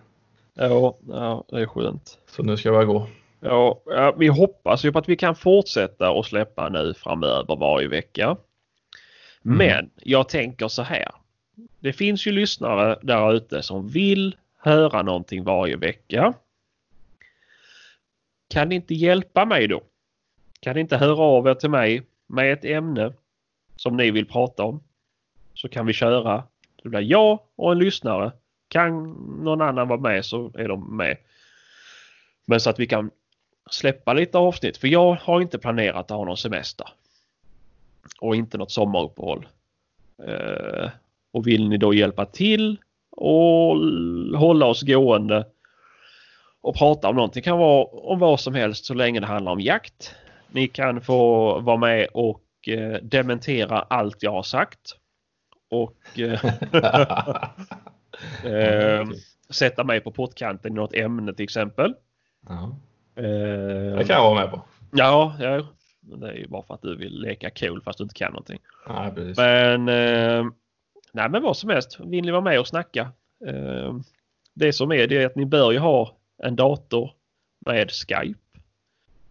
Ja, ja, det är skönt. Så nu ska jag bara gå. Ja, ja, vi hoppas ju på att vi kan fortsätta att släppa nu framöver varje vecka. Mm. Men jag tänker så här. Det finns ju lyssnare där ute som vill höra någonting varje vecka. Kan ni inte hjälpa mig då? Kan ni inte höra av er till mig med ett ämne som ni vill prata om? Så kan vi köra. Det blir jag och en lyssnare. Kan någon annan vara med så är de med. Men så att vi kan släppa lite avsnitt. För jag har inte planerat att ha någon semester. Och inte något sommaruppehåll. Eh, och vill ni då hjälpa till och l- hålla oss gående och prata om någonting. Det kan vara om vad som helst så länge det handlar om jakt. Ni kan få vara med och eh, dementera allt jag har sagt. Och eh, eh, sätta mig på pottkanten i något ämne till exempel. Ja, Eh, det kan jag vara med på. Ja, ja, men det är ju bara för att du vill leka cool fast du inte kan någonting. Nej, precis. Men, eh, nej, men vad som helst. Vill ni vara med och snacka? Eh, det som är det är att ni bör ju ha en dator med Skype.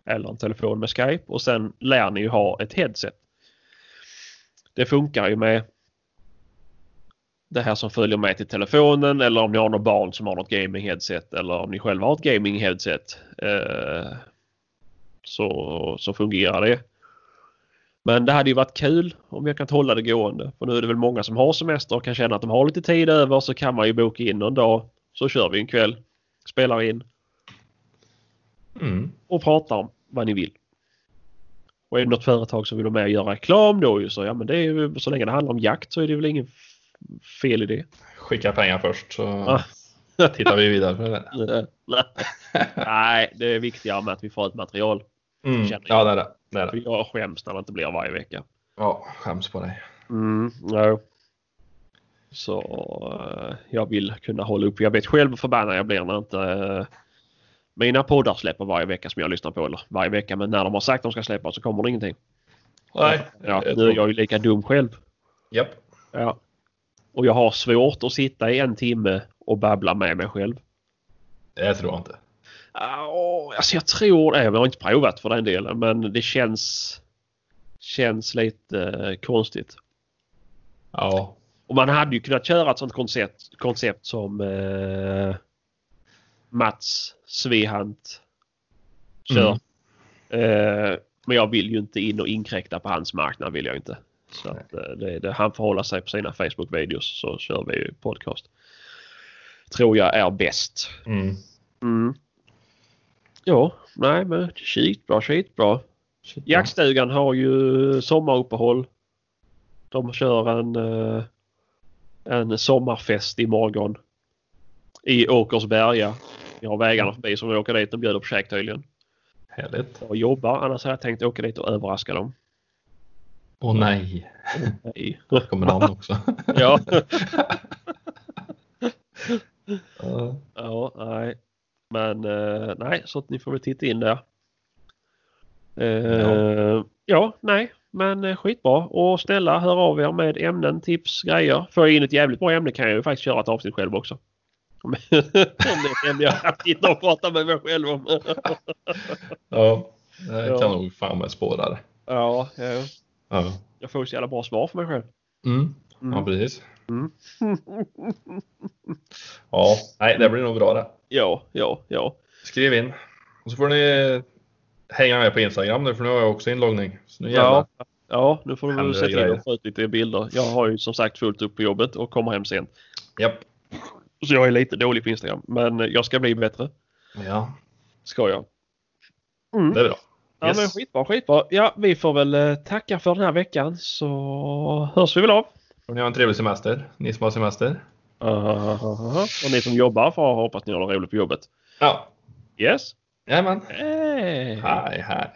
Eller en telefon med Skype. Och sen lär ni ju ha ett headset. Det funkar ju med det här som följer med till telefonen eller om ni har något barn som har något gaming headset eller om ni själva har ett gaming headset. Eh, så, så fungerar det. Men det hade ju varit kul om vi kunnat hålla det gående. För nu är det väl många som har semester och kan känna att de har lite tid över så kan man ju boka in någon dag. Så kör vi en kväll, spelar in Mm. och pratar om vad ni vill. Och är det något företag som vill vara med och göra reklam då ju så ja men det är ju, så länge det handlar om jakt så är det väl ingen f- fel i det. Skicka pengar först så Ah. tittar vi vidare på det. Nej, det är viktigare med att vi får ett material. Mm. Känner jag. Ja, det är det. det, är För det. jag skäms när det inte blir varje vecka. Ja, skäms på dig. Mm, ja. Så eh, jag vill kunna hålla upp. Jag vet själv hur förbannad jag blir när inte eh, mina poddar släpper varje vecka som jag lyssnar på. Eller varje vecka, men när de har sagt att de ska släppa så kommer det ingenting. Nej. Ja, jag nu är tror- jag ju lika dum själv. Japp. Ja. Och jag har svårt att sitta i en timme och babbla med mig själv. Det tror jag inte. Oh, alltså jag tror det. Jag har inte provat för den delen, men det känns, känns lite eh, konstigt. Ja. Och man hade ju kunnat köra ett sånt koncept, koncept som eh, Mats Svehant kör. Eh, men jag vill ju inte in och inkräkta på hans marknad vill jag inte. Så att, eh, det, det, han får hålla sig på sina Facebook-videos så kör vi ju podcast. Tror jag är bäst. Mm. Mm. Ja, nej men skitbra, skitbra. Shit, ja. Jaktstugan har ju sommaruppehåll. De kör en, eh, en sommarfest imorgon. I Åkersberga. Vi har vägarna förbi som vi åker dit och bjuder på käk tydligen. Härligt. Jag jobbar annars hade jag tänkt åka dit och överraska dem. Åh nej. Nej. Där kommer han också. Ja, Ja. ja nej. Men eh, nej, så att ni får väl titta in där. Eh, ja. nej, men eh, skitbra. Och snälla hör av er med ämnen, tips, grejer. Får jag in ett jävligt bra ämne kan jag ju faktiskt köra ett avsnitt själv också. Om om det är ett ämne jag kan sitta och prata med mig själv om. ja. Det kan Ja. nog fan med spåra det. Ja, ja. Ja. Jag får ju så jävla bra svar för mig själv. Mm. Ja, Mm. precis. Mm. Ja, nej, det blir nog bra det. Ja, ja, ja. Skriv in. Och så får ni hänga med på Instagram nu för nu har jag också inloggning. Så nu jävlar. Ja, ja nu får du väl Händer sätta in grejer. och få ut lite bilder. Jag har ju som sagt fullt upp på jobbet och kommer hem sent. Japp. Så jag är lite dålig på Instagram. Men jag ska bli bättre. Ja, Ska jag. det är bra. Mm. Ja Yes. men skitbra, skitbra. Ja, vi får väl eh, tacka för den här veckan så hörs vi väl av. Får ni ha en trevlig semester, ni som har semester. Ah, Och ni som jobbar får hoppas ni har det roligt på jobbet. Ja, Yes. jajamän. Hej. Hej, hej.